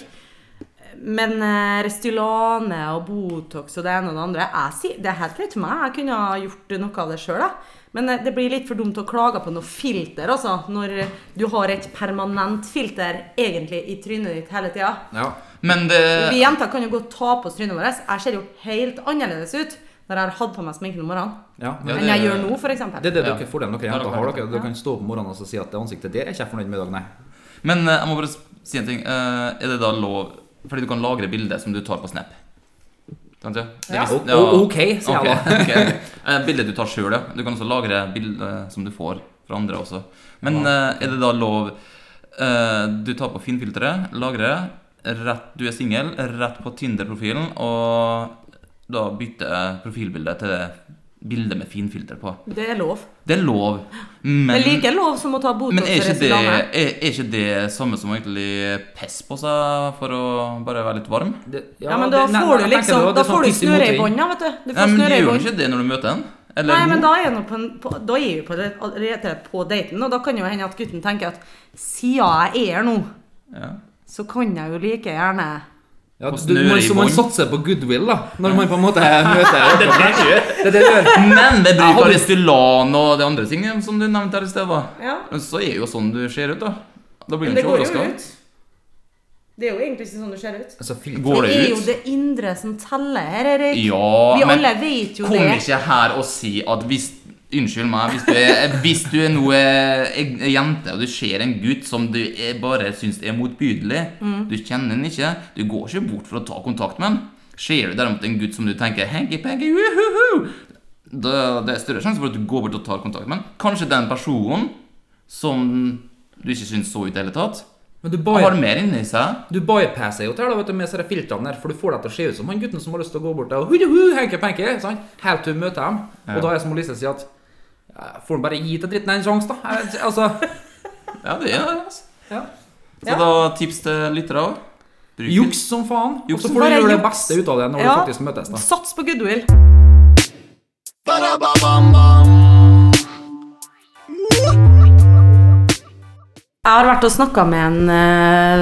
[SPEAKER 3] Men eh, Restylane og Botox og det ene og det andre jeg sier, Det er helt greit for meg. Jeg kunne ha gjort noe av det sjøl. Men eh, det blir litt for dumt å klage på noe filter altså, når du har et permanent filter egentlig i trynet ditt hele tida.
[SPEAKER 4] Ja.
[SPEAKER 2] Men det
[SPEAKER 3] Vi jenter kan jo godt ta på oss trynet vårt. Jeg ser jo helt annerledes ut når jeg har hatt på meg sminke om morgenen
[SPEAKER 4] ja.
[SPEAKER 2] Ja,
[SPEAKER 4] Men
[SPEAKER 2] det-
[SPEAKER 3] enn jeg gjør nå, for eksempel.
[SPEAKER 4] det er det
[SPEAKER 2] Ja.
[SPEAKER 4] dere fordelen dere
[SPEAKER 2] Ja,
[SPEAKER 4] jenter
[SPEAKER 2] dere
[SPEAKER 4] har.
[SPEAKER 2] har det.
[SPEAKER 4] Dere, dere kan stå på morgenen og så si at det ansiktet der er ikke jeg fornøyd med i dag, nei.
[SPEAKER 2] Men eh, jeg må bare si en ting. Eh, er det da lov Fordi du kan lagre bilder som du tar på Snap. Sant, ja? Det er
[SPEAKER 4] Ja.
[SPEAKER 2] visst-
[SPEAKER 4] O- ok, sier jeg
[SPEAKER 2] Ok, ok, *laughs* ok. Eh, bilder du tar sjøl, ja. Du kan også lagre bilder som du får fra andre også. Men eh, er det da lov eh, Du tar på finfilteret, lagrer, rett, du er singel, rett på Tinder-profilen, og da bytter profilbildet til bildet med finfilter på.
[SPEAKER 3] Det er lov.
[SPEAKER 2] Det er lov, men
[SPEAKER 3] Men like lov som å ta Botox
[SPEAKER 2] men er
[SPEAKER 3] for
[SPEAKER 2] ikke, det,
[SPEAKER 3] Restylane.
[SPEAKER 2] er, er ikke det samme som å egentlig pisse på seg for å bare være litt varm?
[SPEAKER 4] Det-
[SPEAKER 3] Ja, men da
[SPEAKER 4] det- nei,
[SPEAKER 3] får
[SPEAKER 4] nei,
[SPEAKER 3] du
[SPEAKER 4] jeg tenker
[SPEAKER 3] liksom
[SPEAKER 4] det
[SPEAKER 3] Da
[SPEAKER 4] var- det er sånn
[SPEAKER 3] får du
[SPEAKER 4] piss imot
[SPEAKER 3] snøre i
[SPEAKER 4] ting.
[SPEAKER 3] bånda, vet du. Du
[SPEAKER 2] Nei,
[SPEAKER 3] får
[SPEAKER 2] men du
[SPEAKER 3] snøre i
[SPEAKER 2] gjør jo
[SPEAKER 3] bånd.
[SPEAKER 2] ikke det når du møter en. Eller
[SPEAKER 3] Nei,
[SPEAKER 2] hun.
[SPEAKER 3] men da er jeg nå på, en, på, da er jeg jo på, det- allerede på daten, og da kan jo hende at gutten tenker at siden jeg er her nå,
[SPEAKER 2] Ja.
[SPEAKER 3] så kan jeg jo like gjerne
[SPEAKER 4] Ja,
[SPEAKER 2] Og
[SPEAKER 4] du,
[SPEAKER 2] snøre
[SPEAKER 4] man,
[SPEAKER 2] i
[SPEAKER 4] så man
[SPEAKER 2] bånd.
[SPEAKER 4] satser på goodwill, da. Når man
[SPEAKER 2] *laughs*
[SPEAKER 4] på en måte møter Det er det du gjør.
[SPEAKER 2] Men ved
[SPEAKER 4] Jeg
[SPEAKER 2] bruk av
[SPEAKER 4] hadde-
[SPEAKER 2] Restylane og de andre tingene som du nevnte her i sted, va?
[SPEAKER 3] Ja,
[SPEAKER 2] så er jo sånn du ser ut, da. Da blir du
[SPEAKER 3] men det
[SPEAKER 2] ikke
[SPEAKER 3] går jo
[SPEAKER 2] overraska.
[SPEAKER 3] ut. Det er jo egentlig ikke sånn det ser ut.
[SPEAKER 4] Altså, fil-
[SPEAKER 2] Går
[SPEAKER 3] Det er
[SPEAKER 2] det
[SPEAKER 3] jo
[SPEAKER 2] ut?
[SPEAKER 3] det indre som teller her, Erik. Vi
[SPEAKER 2] Ja, men
[SPEAKER 3] alle vet jo
[SPEAKER 2] kom
[SPEAKER 3] det.
[SPEAKER 2] ikke her og si at hvis Unnskyld meg, hvis du er, hvis du er noe er jente og du ser en gutt som du er, bare syns er motbydelig
[SPEAKER 3] Mm.
[SPEAKER 2] Du kjenner han ikke. Du går ikke bort for å ta kontakt med han. Ser du derimot en gutt som du tenker hanky panky, uhuhu, da, Det er større sjanse for at du går bort og tar kontakt med han. Kanskje den personen som du ikke syns så ut i det hele tatt,
[SPEAKER 4] Men du,
[SPEAKER 2] har
[SPEAKER 4] by,
[SPEAKER 2] mer inni seg.
[SPEAKER 4] du bypasser jo til da, vet du, med disse filtrene der, for du får deg til å se ut som han gutten som har lyst til å gå bort der og hujuhu, henke penke, sant? Helt til du møter dem. Og da er det som Lise sier at ja, Får han bare gi til dritten en sjanse, da? Jeg- Altså,
[SPEAKER 2] Ja, det er det. altså.
[SPEAKER 4] ja.
[SPEAKER 2] Så da tips til lyttere òg.
[SPEAKER 4] Juks som faen. Og
[SPEAKER 2] Juks
[SPEAKER 4] så
[SPEAKER 2] som
[SPEAKER 4] får du
[SPEAKER 3] bare
[SPEAKER 4] gjøre det
[SPEAKER 3] juks.
[SPEAKER 4] beste ut av det når
[SPEAKER 3] Ja.
[SPEAKER 4] du faktisk møtes. da
[SPEAKER 3] Sats på goodwill. Jeg har vært og snakka med en eh,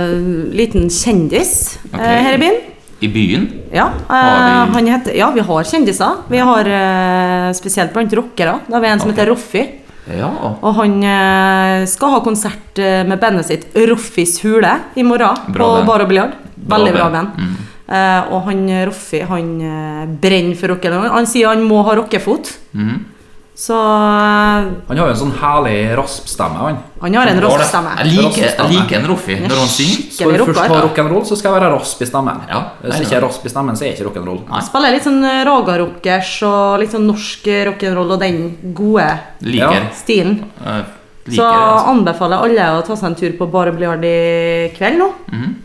[SPEAKER 3] liten kjendis eh,
[SPEAKER 2] Ok.
[SPEAKER 3] her i byen.
[SPEAKER 2] I byen?
[SPEAKER 3] Ja,
[SPEAKER 2] Har
[SPEAKER 3] eh,
[SPEAKER 2] vi-
[SPEAKER 3] han heter, ja, vi har kjendiser. Vi har eh, spesielt blant rockere. Da har vi en som
[SPEAKER 2] Ok.
[SPEAKER 3] heter Roffi.
[SPEAKER 2] Ja.
[SPEAKER 3] Og han eh, skal ha konsert eh, med bandet sitt Roffis hule i morgen
[SPEAKER 2] Bra
[SPEAKER 3] på
[SPEAKER 2] band.
[SPEAKER 3] Bar og Biljard.
[SPEAKER 2] Bra
[SPEAKER 3] Veldig bra
[SPEAKER 2] band. Mm.
[SPEAKER 3] band. Eh,
[SPEAKER 2] Mm.
[SPEAKER 3] og han eh, Roffi han eh, brenner for rocken. Han sier han må ha rockefot. Så han
[SPEAKER 4] Han har jo en sånn herlig raspstemme, han.
[SPEAKER 3] har en
[SPEAKER 2] Åh, det-
[SPEAKER 3] rockstemme.
[SPEAKER 2] Jeg liker, jeg
[SPEAKER 4] Rossestemme.
[SPEAKER 2] liker en Roffi når han synger.
[SPEAKER 4] Så
[SPEAKER 3] Skikkelig
[SPEAKER 4] når du først har
[SPEAKER 3] rocker.
[SPEAKER 4] rock'n'roll, så skal jeg være rasp i stemmen.
[SPEAKER 2] Ja,
[SPEAKER 4] Hvis
[SPEAKER 2] nei,
[SPEAKER 4] jeg ikke
[SPEAKER 2] ja.
[SPEAKER 4] er rasp i stemmen, så er jeg ikke rock'n'roll.
[SPEAKER 2] Nei.
[SPEAKER 3] Spiller litt sånn raga-rockers og litt sånn norsk rock'n'roll og den gode
[SPEAKER 2] Liker.
[SPEAKER 4] Ja.
[SPEAKER 3] stilen.
[SPEAKER 2] Eh, liker
[SPEAKER 3] Så
[SPEAKER 2] det, altså.
[SPEAKER 3] anbefaler alle å ta seg en tur på Bare Biljard i kveld nå.
[SPEAKER 2] Mhm.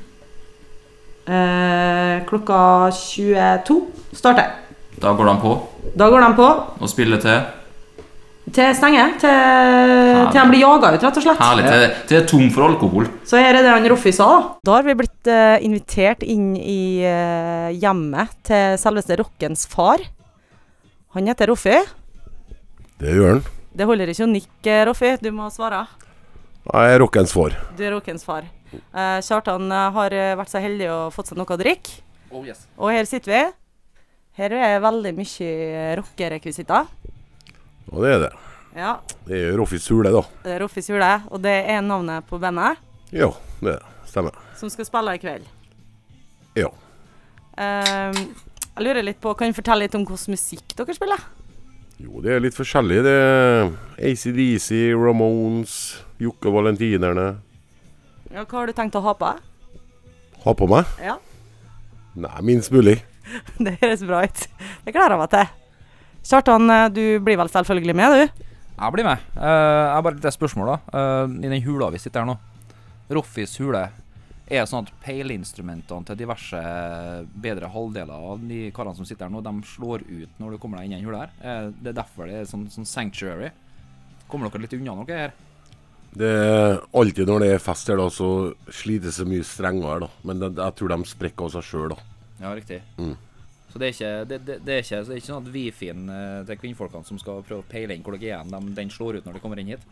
[SPEAKER 3] eh, klokka 22 starter.
[SPEAKER 2] Da går han på
[SPEAKER 3] Da går de på
[SPEAKER 2] og spiller til.
[SPEAKER 3] til stenge. Til, til de blir jaga ut, rett og slett.
[SPEAKER 2] Herlig. Til, til det er tom for alkohol.
[SPEAKER 3] Så her er det han Roffi sa, da. Da har vi blitt eh, invitert inn i eh, hjemmet til selveste rockens far. Han heter Roffi.
[SPEAKER 7] Det gjør han.
[SPEAKER 3] Det holder ikke å nikke, Roffi. Du må svare.
[SPEAKER 7] Jeg er rockens far.
[SPEAKER 3] Du er rockens far. Eh, Kjartan eh, har eh, vært så heldig og fått seg noe å drikke.
[SPEAKER 4] Oh,
[SPEAKER 3] Og her sitter vi. Her er veldig mye rockerekvisitter.
[SPEAKER 7] Og det er det.
[SPEAKER 3] Ja,
[SPEAKER 7] Det er jo Roffis hule, da.
[SPEAKER 3] det er Roffis hule, og det er navnet på bandet
[SPEAKER 7] Ja, det er det. stemmer.
[SPEAKER 3] som skal spille i kveld.
[SPEAKER 7] Ja.
[SPEAKER 3] Ehm, jeg lurer litt på, Kan du fortelle litt om hvilken musikk dere spiller?
[SPEAKER 7] Jo, det er litt forskjellig. Det er ACDC, Ramones, Jokke Valentinerne.
[SPEAKER 3] Ja, Hva har du tenkt å ha på?
[SPEAKER 7] Ha på meg?
[SPEAKER 3] Ja. *laughs*
[SPEAKER 7] Nei, minst mulig.
[SPEAKER 3] Det høres bra ut. Det gleder jeg meg til. Kjartan, eh, du blir vel selvfølgelig med, du?
[SPEAKER 8] Jeg blir med. Eh, jeg har bare et lite spørsmål, da. Eh, I den hula vi sitter her nå, Roffis hule, er det sånn at peileinstrumentene til diverse eh, bedre halvdeler av de karene som sitter her nå, de slår ut når du kommer deg inn i den hula her? Eh, det er derfor det er sånn, sånn sanctuary. Kommer dere litt unna noe her?
[SPEAKER 7] Det er alltid når det er fest her, da, så slites det mye strengere, da. Men det, jeg tror de sprekker av seg sjøl, da.
[SPEAKER 8] Ja, riktig.
[SPEAKER 7] Mm.
[SPEAKER 8] Så det er, ikke, det, det, det, er ikke, så det er ikke sånn at wifien eh, til kvinnfolkene som skal prøve å peile inn hvor dere er, de, den slår ut når de kommer inn hit?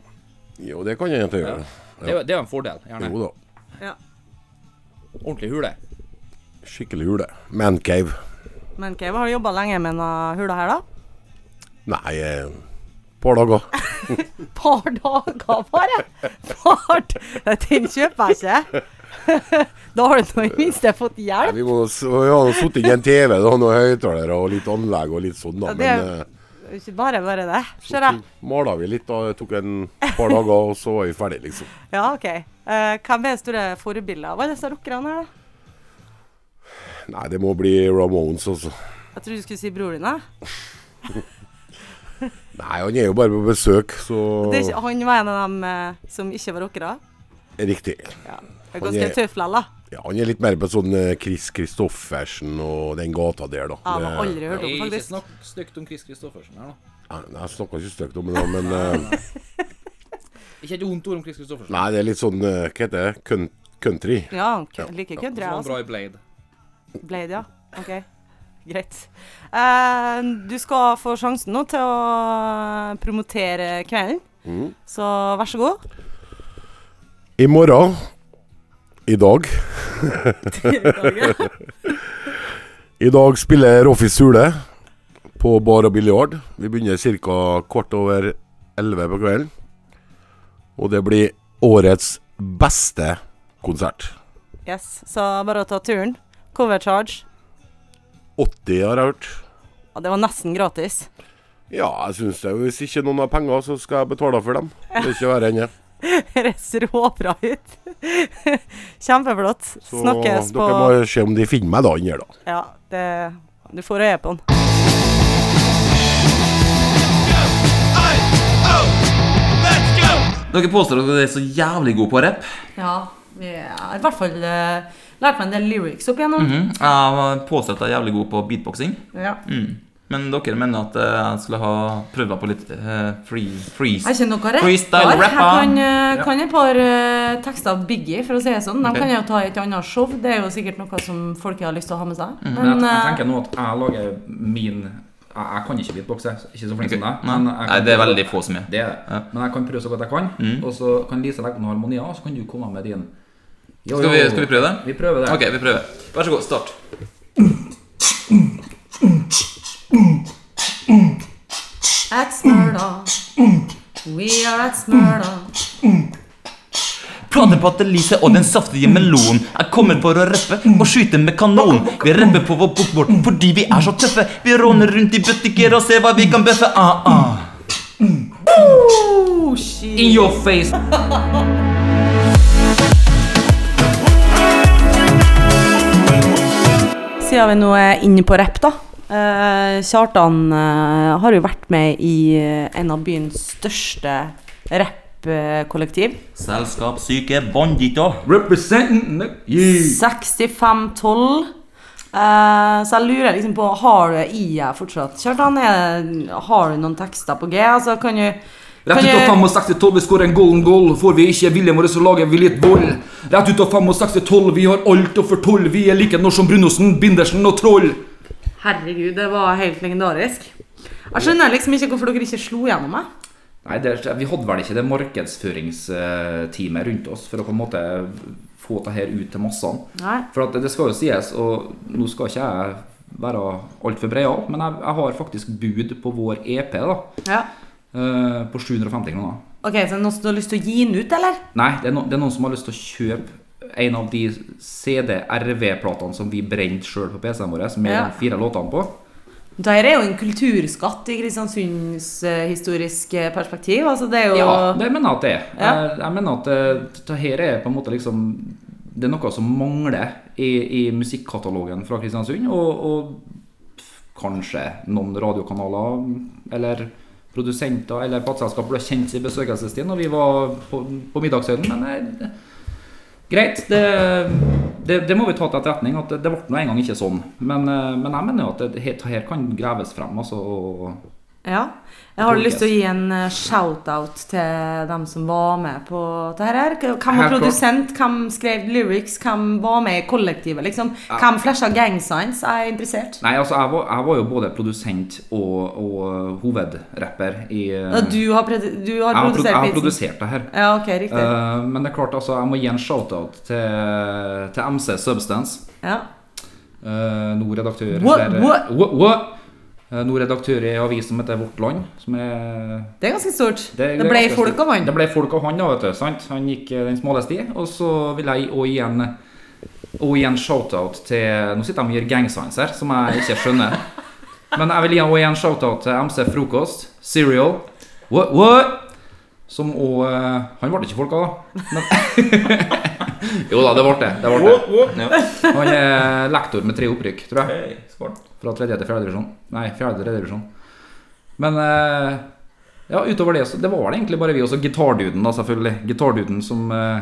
[SPEAKER 7] Jo, det kan jeg egentlig gjøre.
[SPEAKER 8] Det, er jo- det er jo en fordel. gjerne.
[SPEAKER 7] Jo da.
[SPEAKER 8] Ordentlig hule.
[SPEAKER 7] Skikkelig hule. Mancave.
[SPEAKER 3] Men Keiv har jobba lenge med denne hula her, da? *laughs*
[SPEAKER 7] Nei, eh, par dager.
[SPEAKER 3] Par dager bare? Par d- Den kjøper jeg ikke. *laughs* Da har du nå i det minste fått hjelp.
[SPEAKER 7] Vi må s- vi har sittet i en TV, da, noen høyttalere og litt anlegg og litt sånn, da.
[SPEAKER 3] Ja, det er-
[SPEAKER 7] Men eh,
[SPEAKER 3] Ikke bare bare det.
[SPEAKER 7] så
[SPEAKER 3] Ser jeg.
[SPEAKER 7] mala vi litt, da. Det tok en par dager, og så var vi ferdig, liksom.
[SPEAKER 3] Ja, OK. Eh, hvem er store forbilder av alle disse rockerne her, da?
[SPEAKER 7] Nei, det må bli Ramones, altså.
[SPEAKER 3] Jeg trodde du skulle si broren din. da.
[SPEAKER 7] Nei, han er jo bare på besøk, så
[SPEAKER 3] Det er ikke, han var en av dem eh, som ikke var rockere.
[SPEAKER 7] Riktig.
[SPEAKER 3] Ja. Det er
[SPEAKER 7] Han
[SPEAKER 3] ganske
[SPEAKER 7] er-
[SPEAKER 3] tøff lell, da.
[SPEAKER 7] Ja, han er litt mer på sånn eh, Chris Christoffersen og den gata der, da.
[SPEAKER 3] Ja, Jeg har
[SPEAKER 7] Det-
[SPEAKER 3] aldri hørt om
[SPEAKER 8] Ikke
[SPEAKER 3] det, faktisk.
[SPEAKER 8] snakk stygt om Chris Christoffersen her, da.
[SPEAKER 7] Nei, nei, jeg snakka ikke stygt om det, men eh,
[SPEAKER 8] Ikke et vondt ord om Chris Christoffersen.
[SPEAKER 7] Nei, det er litt sånn eh, Hva heter det? Køn- Country.
[SPEAKER 3] Ja, han kø- liker
[SPEAKER 8] Som
[SPEAKER 3] country,
[SPEAKER 8] var
[SPEAKER 3] altså.
[SPEAKER 8] bra i Blade.
[SPEAKER 3] Blade, ja. OK. Greit. Eh, du skal få sjansen nå til å eh, promotere kvelden,
[SPEAKER 7] Mm.
[SPEAKER 3] så vær så god.
[SPEAKER 7] I morgen
[SPEAKER 3] *laughs*
[SPEAKER 7] I dag I dag spiller Roffi Sule på bar og biljard. Vi begynner ca. kvart over elleve på kvelden. Og det blir årets beste konsert.
[SPEAKER 3] Yes, Så bare å ta turen. Cover charge.
[SPEAKER 7] 80 har jeg hørt.
[SPEAKER 3] Ja, det var nesten gratis.
[SPEAKER 7] Ja, jeg syns det. Hvis ikke noen har penger, så skal jeg betale for dem. Det er ikke verre enn det.
[SPEAKER 3] *laughs* Høres råbra ut. *laughs* Kjempeflott.
[SPEAKER 7] Så
[SPEAKER 3] Snakkes på
[SPEAKER 7] dere må se om de finner meg da inni her, da.
[SPEAKER 3] Ja, det Du får øye på den.
[SPEAKER 2] Dere påstår at dere er så jævlig gode på rapp.
[SPEAKER 3] Ja. Jeg har i hvert fall eh, lært meg en del lyrics opp igjennom.
[SPEAKER 2] Mhm. Jeg påstår at jeg er jævlig god på beatboxing.
[SPEAKER 3] ja.
[SPEAKER 2] Mm. Men dere mener at eh, jeg skulle ha prøvd meg på litt eh, free, freeze.
[SPEAKER 3] Jeg kjenner noe rett.
[SPEAKER 2] Freestyle
[SPEAKER 3] Jeg
[SPEAKER 2] rapper.
[SPEAKER 3] kan, eh, kan et par eh, tekster av Biggie, for å si det sånn. De
[SPEAKER 2] Ok.
[SPEAKER 3] kan jeg jo ta i et annet show. Det er jo sikkert noe som folk har lyst til å ha med
[SPEAKER 2] Mm.
[SPEAKER 3] seg.
[SPEAKER 4] Men jeg,
[SPEAKER 3] Men
[SPEAKER 4] jeg
[SPEAKER 3] eh,
[SPEAKER 4] tenker nå at jeg lager min Jeg, jeg kan ikke beatboxe, ikke så flink som deg.
[SPEAKER 2] Nei,
[SPEAKER 4] men jeg kan
[SPEAKER 2] nei, det er
[SPEAKER 4] prøve-
[SPEAKER 2] veldig få som er.
[SPEAKER 4] Det er det.
[SPEAKER 2] Ja. Mm.
[SPEAKER 4] Men jeg kan prøve så godt jeg kan. Og så kan Lise legge på noen harmonier, og så kan du komme med din. Jo,
[SPEAKER 2] Skal vi,
[SPEAKER 4] jo.
[SPEAKER 2] skal vi prøve det?
[SPEAKER 4] Vi prøver det.
[SPEAKER 2] Ok, vi prøver. Vær så god, start.
[SPEAKER 3] at Smyrna
[SPEAKER 2] Mm.
[SPEAKER 3] We are at Smyrna.
[SPEAKER 2] Planer på at Elise og den saftige melonen er kommet for å rappe og skyte med kanon. Vi rapper på vår bokmål fordi vi er så tøffe. Vi råner rundt i butikker og ser hva vi kan bøffe. Ah, ah.
[SPEAKER 3] Oh, shit.
[SPEAKER 2] In your face!
[SPEAKER 3] Siden vi nå er inne på rapp, da. eh, Kjartan eh, har jo vært med i eh, en av byens største rappkollektiv.
[SPEAKER 2] Selskapssyke banditter.
[SPEAKER 4] Representing the- yeah.
[SPEAKER 3] 6512. Eh, så jeg lurer liksom på Har du det i deg fortsatt? Kjartan, er, har du noen tekster på G? Altså, kan du kan
[SPEAKER 4] Rett ut av
[SPEAKER 3] du-
[SPEAKER 4] 65 12, vi skårer en golden goal. Får vi ikke viljen vår, så lager vi litt vold. Rett ut av 65 12, vi har alt å fortolle. Vi er like norsk som Brunosen, Bindersen og Troll.
[SPEAKER 3] Herregud, det var helt legendarisk. Jeg skjønner liksom ikke hvorfor dere ikke slo gjennom meg.
[SPEAKER 4] Nei, det, er- vi hadde vel ikke det markedsføringsteamet rundt oss for å på en måte få det her ut til massene.
[SPEAKER 3] Nei.
[SPEAKER 4] For at det skal jo sies, og nå skal ikke jeg være altfor breial, men jeg, jeg har faktisk bud på vår EP da,
[SPEAKER 3] Ja.
[SPEAKER 4] eh, på 750 kroner.
[SPEAKER 3] Ok, Så er det noen som har lyst til å gi den ut, eller?
[SPEAKER 4] Nei, det er, no, det er noen som har lyst til å kjøpe en av de CD-RV-platene som vi brente sjøl på PC-en vår, med
[SPEAKER 3] Ja.
[SPEAKER 4] de fire låtene på.
[SPEAKER 3] Dette er jo en kulturskatt i Kristiansunds eh, historiske perspektiv. Altså, det er jo
[SPEAKER 4] Ja, det mener jeg at det er.
[SPEAKER 3] Ja.
[SPEAKER 4] Jeg, jeg mener at det, det her er på en måte liksom Det er noe som mangler i, i musikkatalogen fra Kristiansund. Og, og kanskje noen radiokanaler eller produsenter eller plateselskap ble kjent i besøkelsestid når vi var på, på middagshøyden, men nei, det, greit. Det, det, det må vi ta til etterretning. at Det, det ble nå engang ikke sånn. Men, eh, men jeg mener jo at det, det her kan graves frem. altså og
[SPEAKER 3] Ja. Jeg har lyst til å gi
[SPEAKER 4] altså.
[SPEAKER 3] en eh, shout-out til dem som var med på dette her. K- Hvem var
[SPEAKER 4] Helt klart.
[SPEAKER 3] produsent, hvem skrev lyrics, hvem var med i kollektivet, liksom? Hvem flasha gang signs? Jeg er interessert.
[SPEAKER 4] Nei, altså, jeg var, jeg var jo både produsent og, og hovedrapper i eh,
[SPEAKER 3] Ja, Du har, produ du har
[SPEAKER 4] jeg, har pro-
[SPEAKER 3] produsert
[SPEAKER 4] jeg har
[SPEAKER 3] beatsen.
[SPEAKER 4] produsert det her.
[SPEAKER 3] Ja, ok, riktig.
[SPEAKER 4] Eh, men det er klart, altså, jeg må gi en shout-out til, til MC Substance.
[SPEAKER 3] ja.
[SPEAKER 4] eh, nå redaktør
[SPEAKER 3] What?
[SPEAKER 4] eller-
[SPEAKER 3] What?
[SPEAKER 4] Wha- what? Eh, nå redaktør i avisen som heter Vårt Land. Som er
[SPEAKER 3] Det er ganske stort. Det,
[SPEAKER 4] er
[SPEAKER 3] ble
[SPEAKER 4] ganske
[SPEAKER 3] folk
[SPEAKER 4] stort.
[SPEAKER 3] av han.
[SPEAKER 4] Det ble folk av han, da, vet du. Sant? Han gikk eh, den smale sti. Og så vil jeg òg gi en og gi en shout-out til Nå sitter de og gir gangsigns her, som jeg ikke skjønner. Men jeg vil gi også gi en shout-out til MC Frokost, Cereal What? What? Som òg Han ble ikke folk av, da. Men, *laughs* jo da, det ble det. det, ble det. Han er lektor med tre opprykk, tror jeg.
[SPEAKER 2] Hei, skål.
[SPEAKER 4] Fra tredje til fjerde divisjon. Nei, fjerde til tredje divisjon. Men eh, ja, utover det, så det var det egentlig bare vi. Og så gitarduden, da, selvfølgelig. Gitarduden som eh,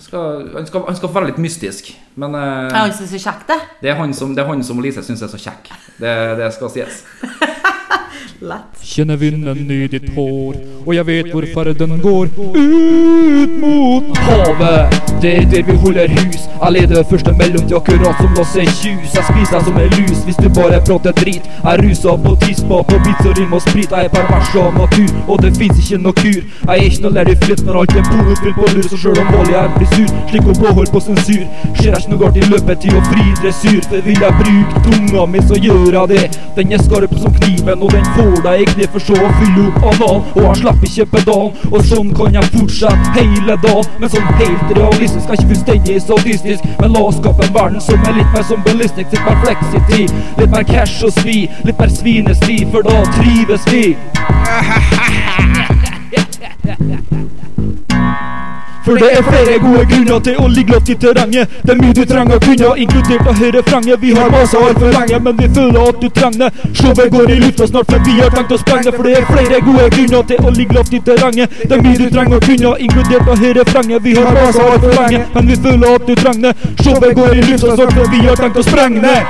[SPEAKER 4] skal, han, skal, han skal være litt mystisk. Men eh,
[SPEAKER 3] Jeg syns det er kjekt, det.
[SPEAKER 4] det, er han som, det er han som Lise syns er så kjekk. Det, det skal sies.
[SPEAKER 3] Lett.
[SPEAKER 9] Kjenner vinden i ditt hår, og jeg vet hvor ferden går. Ut mot havet, det er der vi holder hus. Jeg leder første mellom de akkurat som Lasse Kjus. Jeg spiser deg som en lus hvis du bare prater drit. Jeg ruser på tispa, på vits og rim og sprit. Jeg er pervers av natur, og det fins ikke noe kur. Jeg er ikke noe lærlig flytt når alt er bonusfylt på lur, så sjøl om målet er frisur, slik hun påhold på sensur. Ser jeg ikke noe galt i løpetid og fri dressur, for vil jeg bruke tunga mi, så gjør jeg det. Den er skarp som kniven, og den får deg i kne for så å fylle opp analen. Og jeg slipper ikke pedalen, og sånn kan jeg fortsette hele dagen. Men sånn helt realistisk, er ikke fullstendig statistisk. Men la oss skape en verden som er litt mer som ballistic, litt mer flexity, litt mer cash og svi, litt mer svinesti, for da trives vi. For det er flere gode grunner til å ligge lavt i terrenget. Det er mye du trenger å kunne, inkludert av refrenget. Vi har masa altfor lenge, men vi føler at du trenger det. Showet går i lufta snart, for vi har tenkt å sprenge det. For det er flere gode grunner til å ligge lavt i terrenget. Det er mye du trenger å kunne, inkludert av refrenget. Vi har masa altfor lenge, men vi føler at du trenger det. Showet går i lufta snart, for vi har tenkt å sprenge det.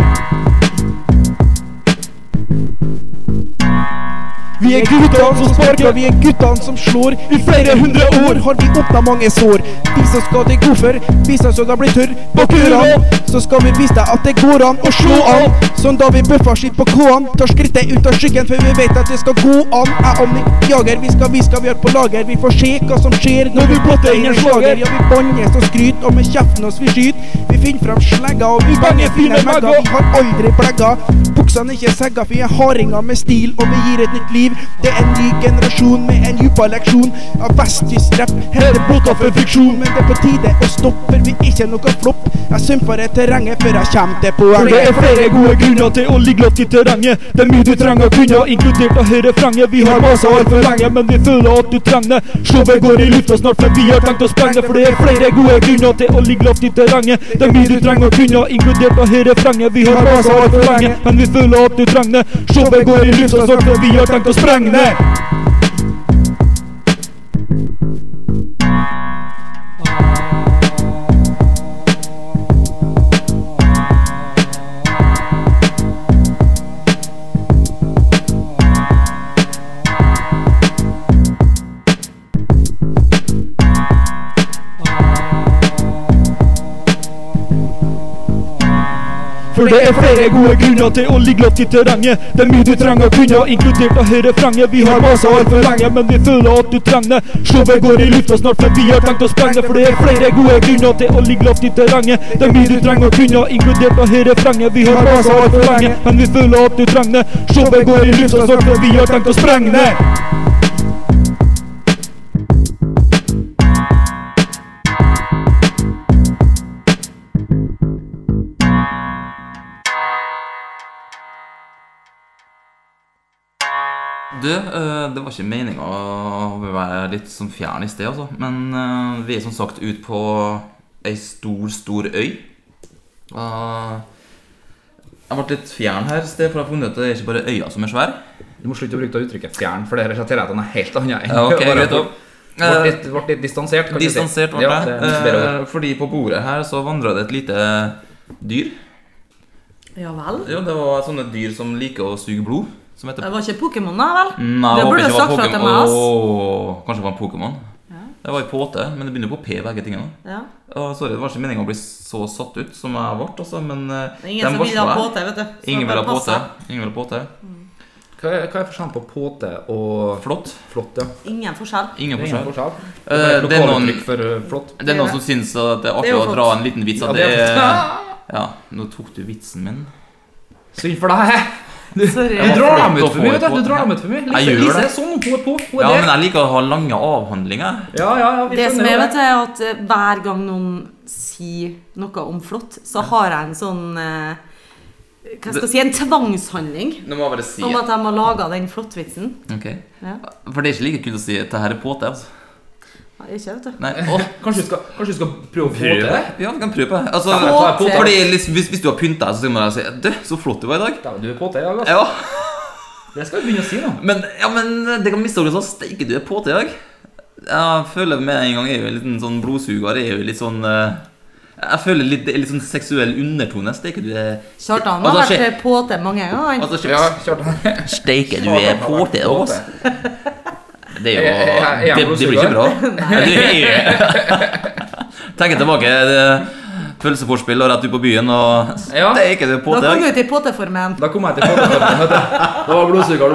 [SPEAKER 9] Vi er guttene som sparker, vi er guttene som slår. I flere hundre år har vi åpna mange sår. Vi som skal til godfør, vi som skal bli tørr på kurene. Så skal vi vise deg at det går an å slå an. Som da vi bøffa skitt på K-an. Tar skrittet ut av skyggen, for vi vet at det skal gå an. Jeg og min jager, vi skal vise hva vi har på lager. Vi får se hva som skjer når vi plotter inn en slager. Ja, vi bannes og skryter, og med kjeften oss vi skyter. Vi finner fram slegga, og vi banger fine megga. Vi har aldri plegga. Buksene er ikke segga, for vi er hardinger med stil, og vi gir et nytt liv.
[SPEAKER 10] liv. Det er en ny generasjon med en dypa leksjon av vestjysk rapp. Henter blokka for friksjon, men det er på tide å stoppe, for vi er ikke noe flopp. Jeg sumper i terrenget før jeg kommer til
[SPEAKER 9] For det er
[SPEAKER 10] poenget.
[SPEAKER 9] flere gode grunner til å ligge lavt i terrenget. Det er mye du trenger å kunne, inkludert av refrenget. Vi har masa altfor lenge, men vi føler at du trenger det. Showet går i lufta snart, men vi har tenkt å sprenge det. For det er flere gode grunner til å ligge lavt i terrenget. Det er mye du trenger å kunne, inkludert av refrenget. Vi har masa altfor lenge, men vi føler at du trenger det. Showet går i lufta snart, men vi har tenkt å sprenge det. For det er flere gode grunner til å ligge lavt i terrenget. Det er mye du trenger å kunne, inkludert av refrenget. Vi har masa altfor lenge, men vi føler at du trenger det. Showet går i lufta snart, men vi har tenkt å sprenge det. For det er flere gode grunner til å ligge lavt i terrenget. Det er mye du trenger å kunne, inkludert av refrenget. Vi har masa altfor lenge, men vi føler at du trenger det. Showet går i lufta snart, men vi har tenkt å sprenge det.
[SPEAKER 2] Du, eh, det var ikke meninga å være litt sånn fjern i sted, altså. Men eh, vi er som sagt ute på ei stor, stor øy. Eh, jeg ble litt fjern her i sted, for jeg har funnet ut at det er ikke bare øya som er svær.
[SPEAKER 4] Du må slutte å bruke det uttrykket 'fjern', for det relaterer jeg til noe helt annet.
[SPEAKER 2] Ja, ok, greit da.
[SPEAKER 4] Ble
[SPEAKER 2] Eh,
[SPEAKER 4] litt, ble litt distansert, kan
[SPEAKER 2] Distansert Eh, ble
[SPEAKER 4] du si. Ja, det er mye bedre ord.
[SPEAKER 2] jeg. Fordi på bordet her så vandra det et lite dyr.
[SPEAKER 3] Ja vel?
[SPEAKER 2] Jo, det var sånne dyr som liker å suge blod. Som heter
[SPEAKER 3] Det var ikke Pokémon, da vel?
[SPEAKER 2] Nei,
[SPEAKER 3] det
[SPEAKER 2] jeg håper
[SPEAKER 3] burde
[SPEAKER 2] ikke
[SPEAKER 3] du
[SPEAKER 2] det var
[SPEAKER 3] sagt fra til
[SPEAKER 2] Pokémon.
[SPEAKER 3] meg. ass.
[SPEAKER 2] Åh, Kanskje det var en Pokémon. Det var i påte, men det begynner på P, begge tingene.
[SPEAKER 3] Ja.
[SPEAKER 2] Å, sorry, det var ikke meningen å bli så satt ut som jeg ble, altså, men
[SPEAKER 3] Det er ingen som vil ha påte, vet du. Så
[SPEAKER 2] Ingen vil ha
[SPEAKER 3] bare pass
[SPEAKER 2] påte.
[SPEAKER 3] deg.
[SPEAKER 2] Ingen vil ha påte.
[SPEAKER 4] Hva er, hva er forskjellen på påte og
[SPEAKER 2] Flott.
[SPEAKER 4] flott? ja?
[SPEAKER 3] Ingen forskjell.
[SPEAKER 2] Ingen
[SPEAKER 4] Det er ingen
[SPEAKER 2] forskjell.
[SPEAKER 4] forskjell.
[SPEAKER 2] Eh,
[SPEAKER 4] Det er et
[SPEAKER 2] det er noen-
[SPEAKER 4] lokaluttrykk for eh, flott.
[SPEAKER 2] Det er noen som syns at det er
[SPEAKER 3] Det
[SPEAKER 2] artig
[SPEAKER 3] er jo
[SPEAKER 2] å dra en liten vits
[SPEAKER 4] Ja,
[SPEAKER 2] at det
[SPEAKER 4] det er
[SPEAKER 2] er Ja, nå tok du vitsen min.
[SPEAKER 4] Synd for deg! Du,
[SPEAKER 3] Sorry.
[SPEAKER 4] du drar dem
[SPEAKER 2] Flott å
[SPEAKER 4] ut for mye,
[SPEAKER 2] få
[SPEAKER 4] vet du.
[SPEAKER 2] et
[SPEAKER 4] Du drar
[SPEAKER 2] påte.
[SPEAKER 4] dem ut for mye.
[SPEAKER 2] Jeg
[SPEAKER 4] Lise,
[SPEAKER 2] gjør
[SPEAKER 4] Lise
[SPEAKER 2] det.
[SPEAKER 4] er sånn, hun er på. Hun
[SPEAKER 2] Ja,
[SPEAKER 4] er
[SPEAKER 2] men
[SPEAKER 4] der.
[SPEAKER 2] jeg liker å ha lange avhandlinger.
[SPEAKER 4] Ja, ja, ja, vi
[SPEAKER 3] Det som
[SPEAKER 4] skjønner
[SPEAKER 3] er,
[SPEAKER 4] jo
[SPEAKER 3] vet du, er at eh, hver gang noen sier noe om flott, så har jeg en sånn eh, Hva skal jeg si En tvangshandling
[SPEAKER 2] Nå må jeg bare si
[SPEAKER 3] om at de har laga den flottvitsen.
[SPEAKER 2] Ok.
[SPEAKER 3] Ja.
[SPEAKER 2] For det er ikke like kult å si at det her er påte, altså.
[SPEAKER 3] Nei, Ikke, vet du.
[SPEAKER 2] Nei, åh.
[SPEAKER 4] Kanskje du skal, kanskje du skal prøve å få til det?
[SPEAKER 2] Ja, vi kan prøve på det. Altså,
[SPEAKER 3] Påte.
[SPEAKER 2] påte. Fordi liksom, hvis, hvis du har pynta deg, så skal man bare si Du, så flott du var i dag.
[SPEAKER 4] Ja, men du er på til i dag, ass.
[SPEAKER 2] Ja,
[SPEAKER 4] Det skal vi begynne å si, da.
[SPEAKER 2] men, ja, men det kan mistokkes at steike du er påte i dag. Jeg føler med en gang jeg er jo en liten sånn blodsuger. Jeg er jo litt sånn eh, Jeg føler litt, det er litt sånn seksuell undertone. Steike du er
[SPEAKER 3] Kjartan har
[SPEAKER 2] Altså,
[SPEAKER 3] vært
[SPEAKER 2] skje-
[SPEAKER 3] eh, påte mange ganger. han.
[SPEAKER 2] Altså,
[SPEAKER 4] Ja,
[SPEAKER 2] shit,
[SPEAKER 4] Kjartan.
[SPEAKER 2] steike du er påte, altså. Det er jo
[SPEAKER 4] Jeg- jeg- jeg er
[SPEAKER 2] Det, det blir ikke bra.
[SPEAKER 4] *laughs*
[SPEAKER 2] Du er *laughs* Tenker tilbake. det- Pølseforspill og rett ut på byen og
[SPEAKER 4] Ja.
[SPEAKER 2] Steike du er
[SPEAKER 3] Da
[SPEAKER 2] påte i
[SPEAKER 3] kom
[SPEAKER 2] *laughs* dag.
[SPEAKER 3] du ut i påteformen.
[SPEAKER 4] Da kom jeg til folkeformen, vet du. Det var blodsuger og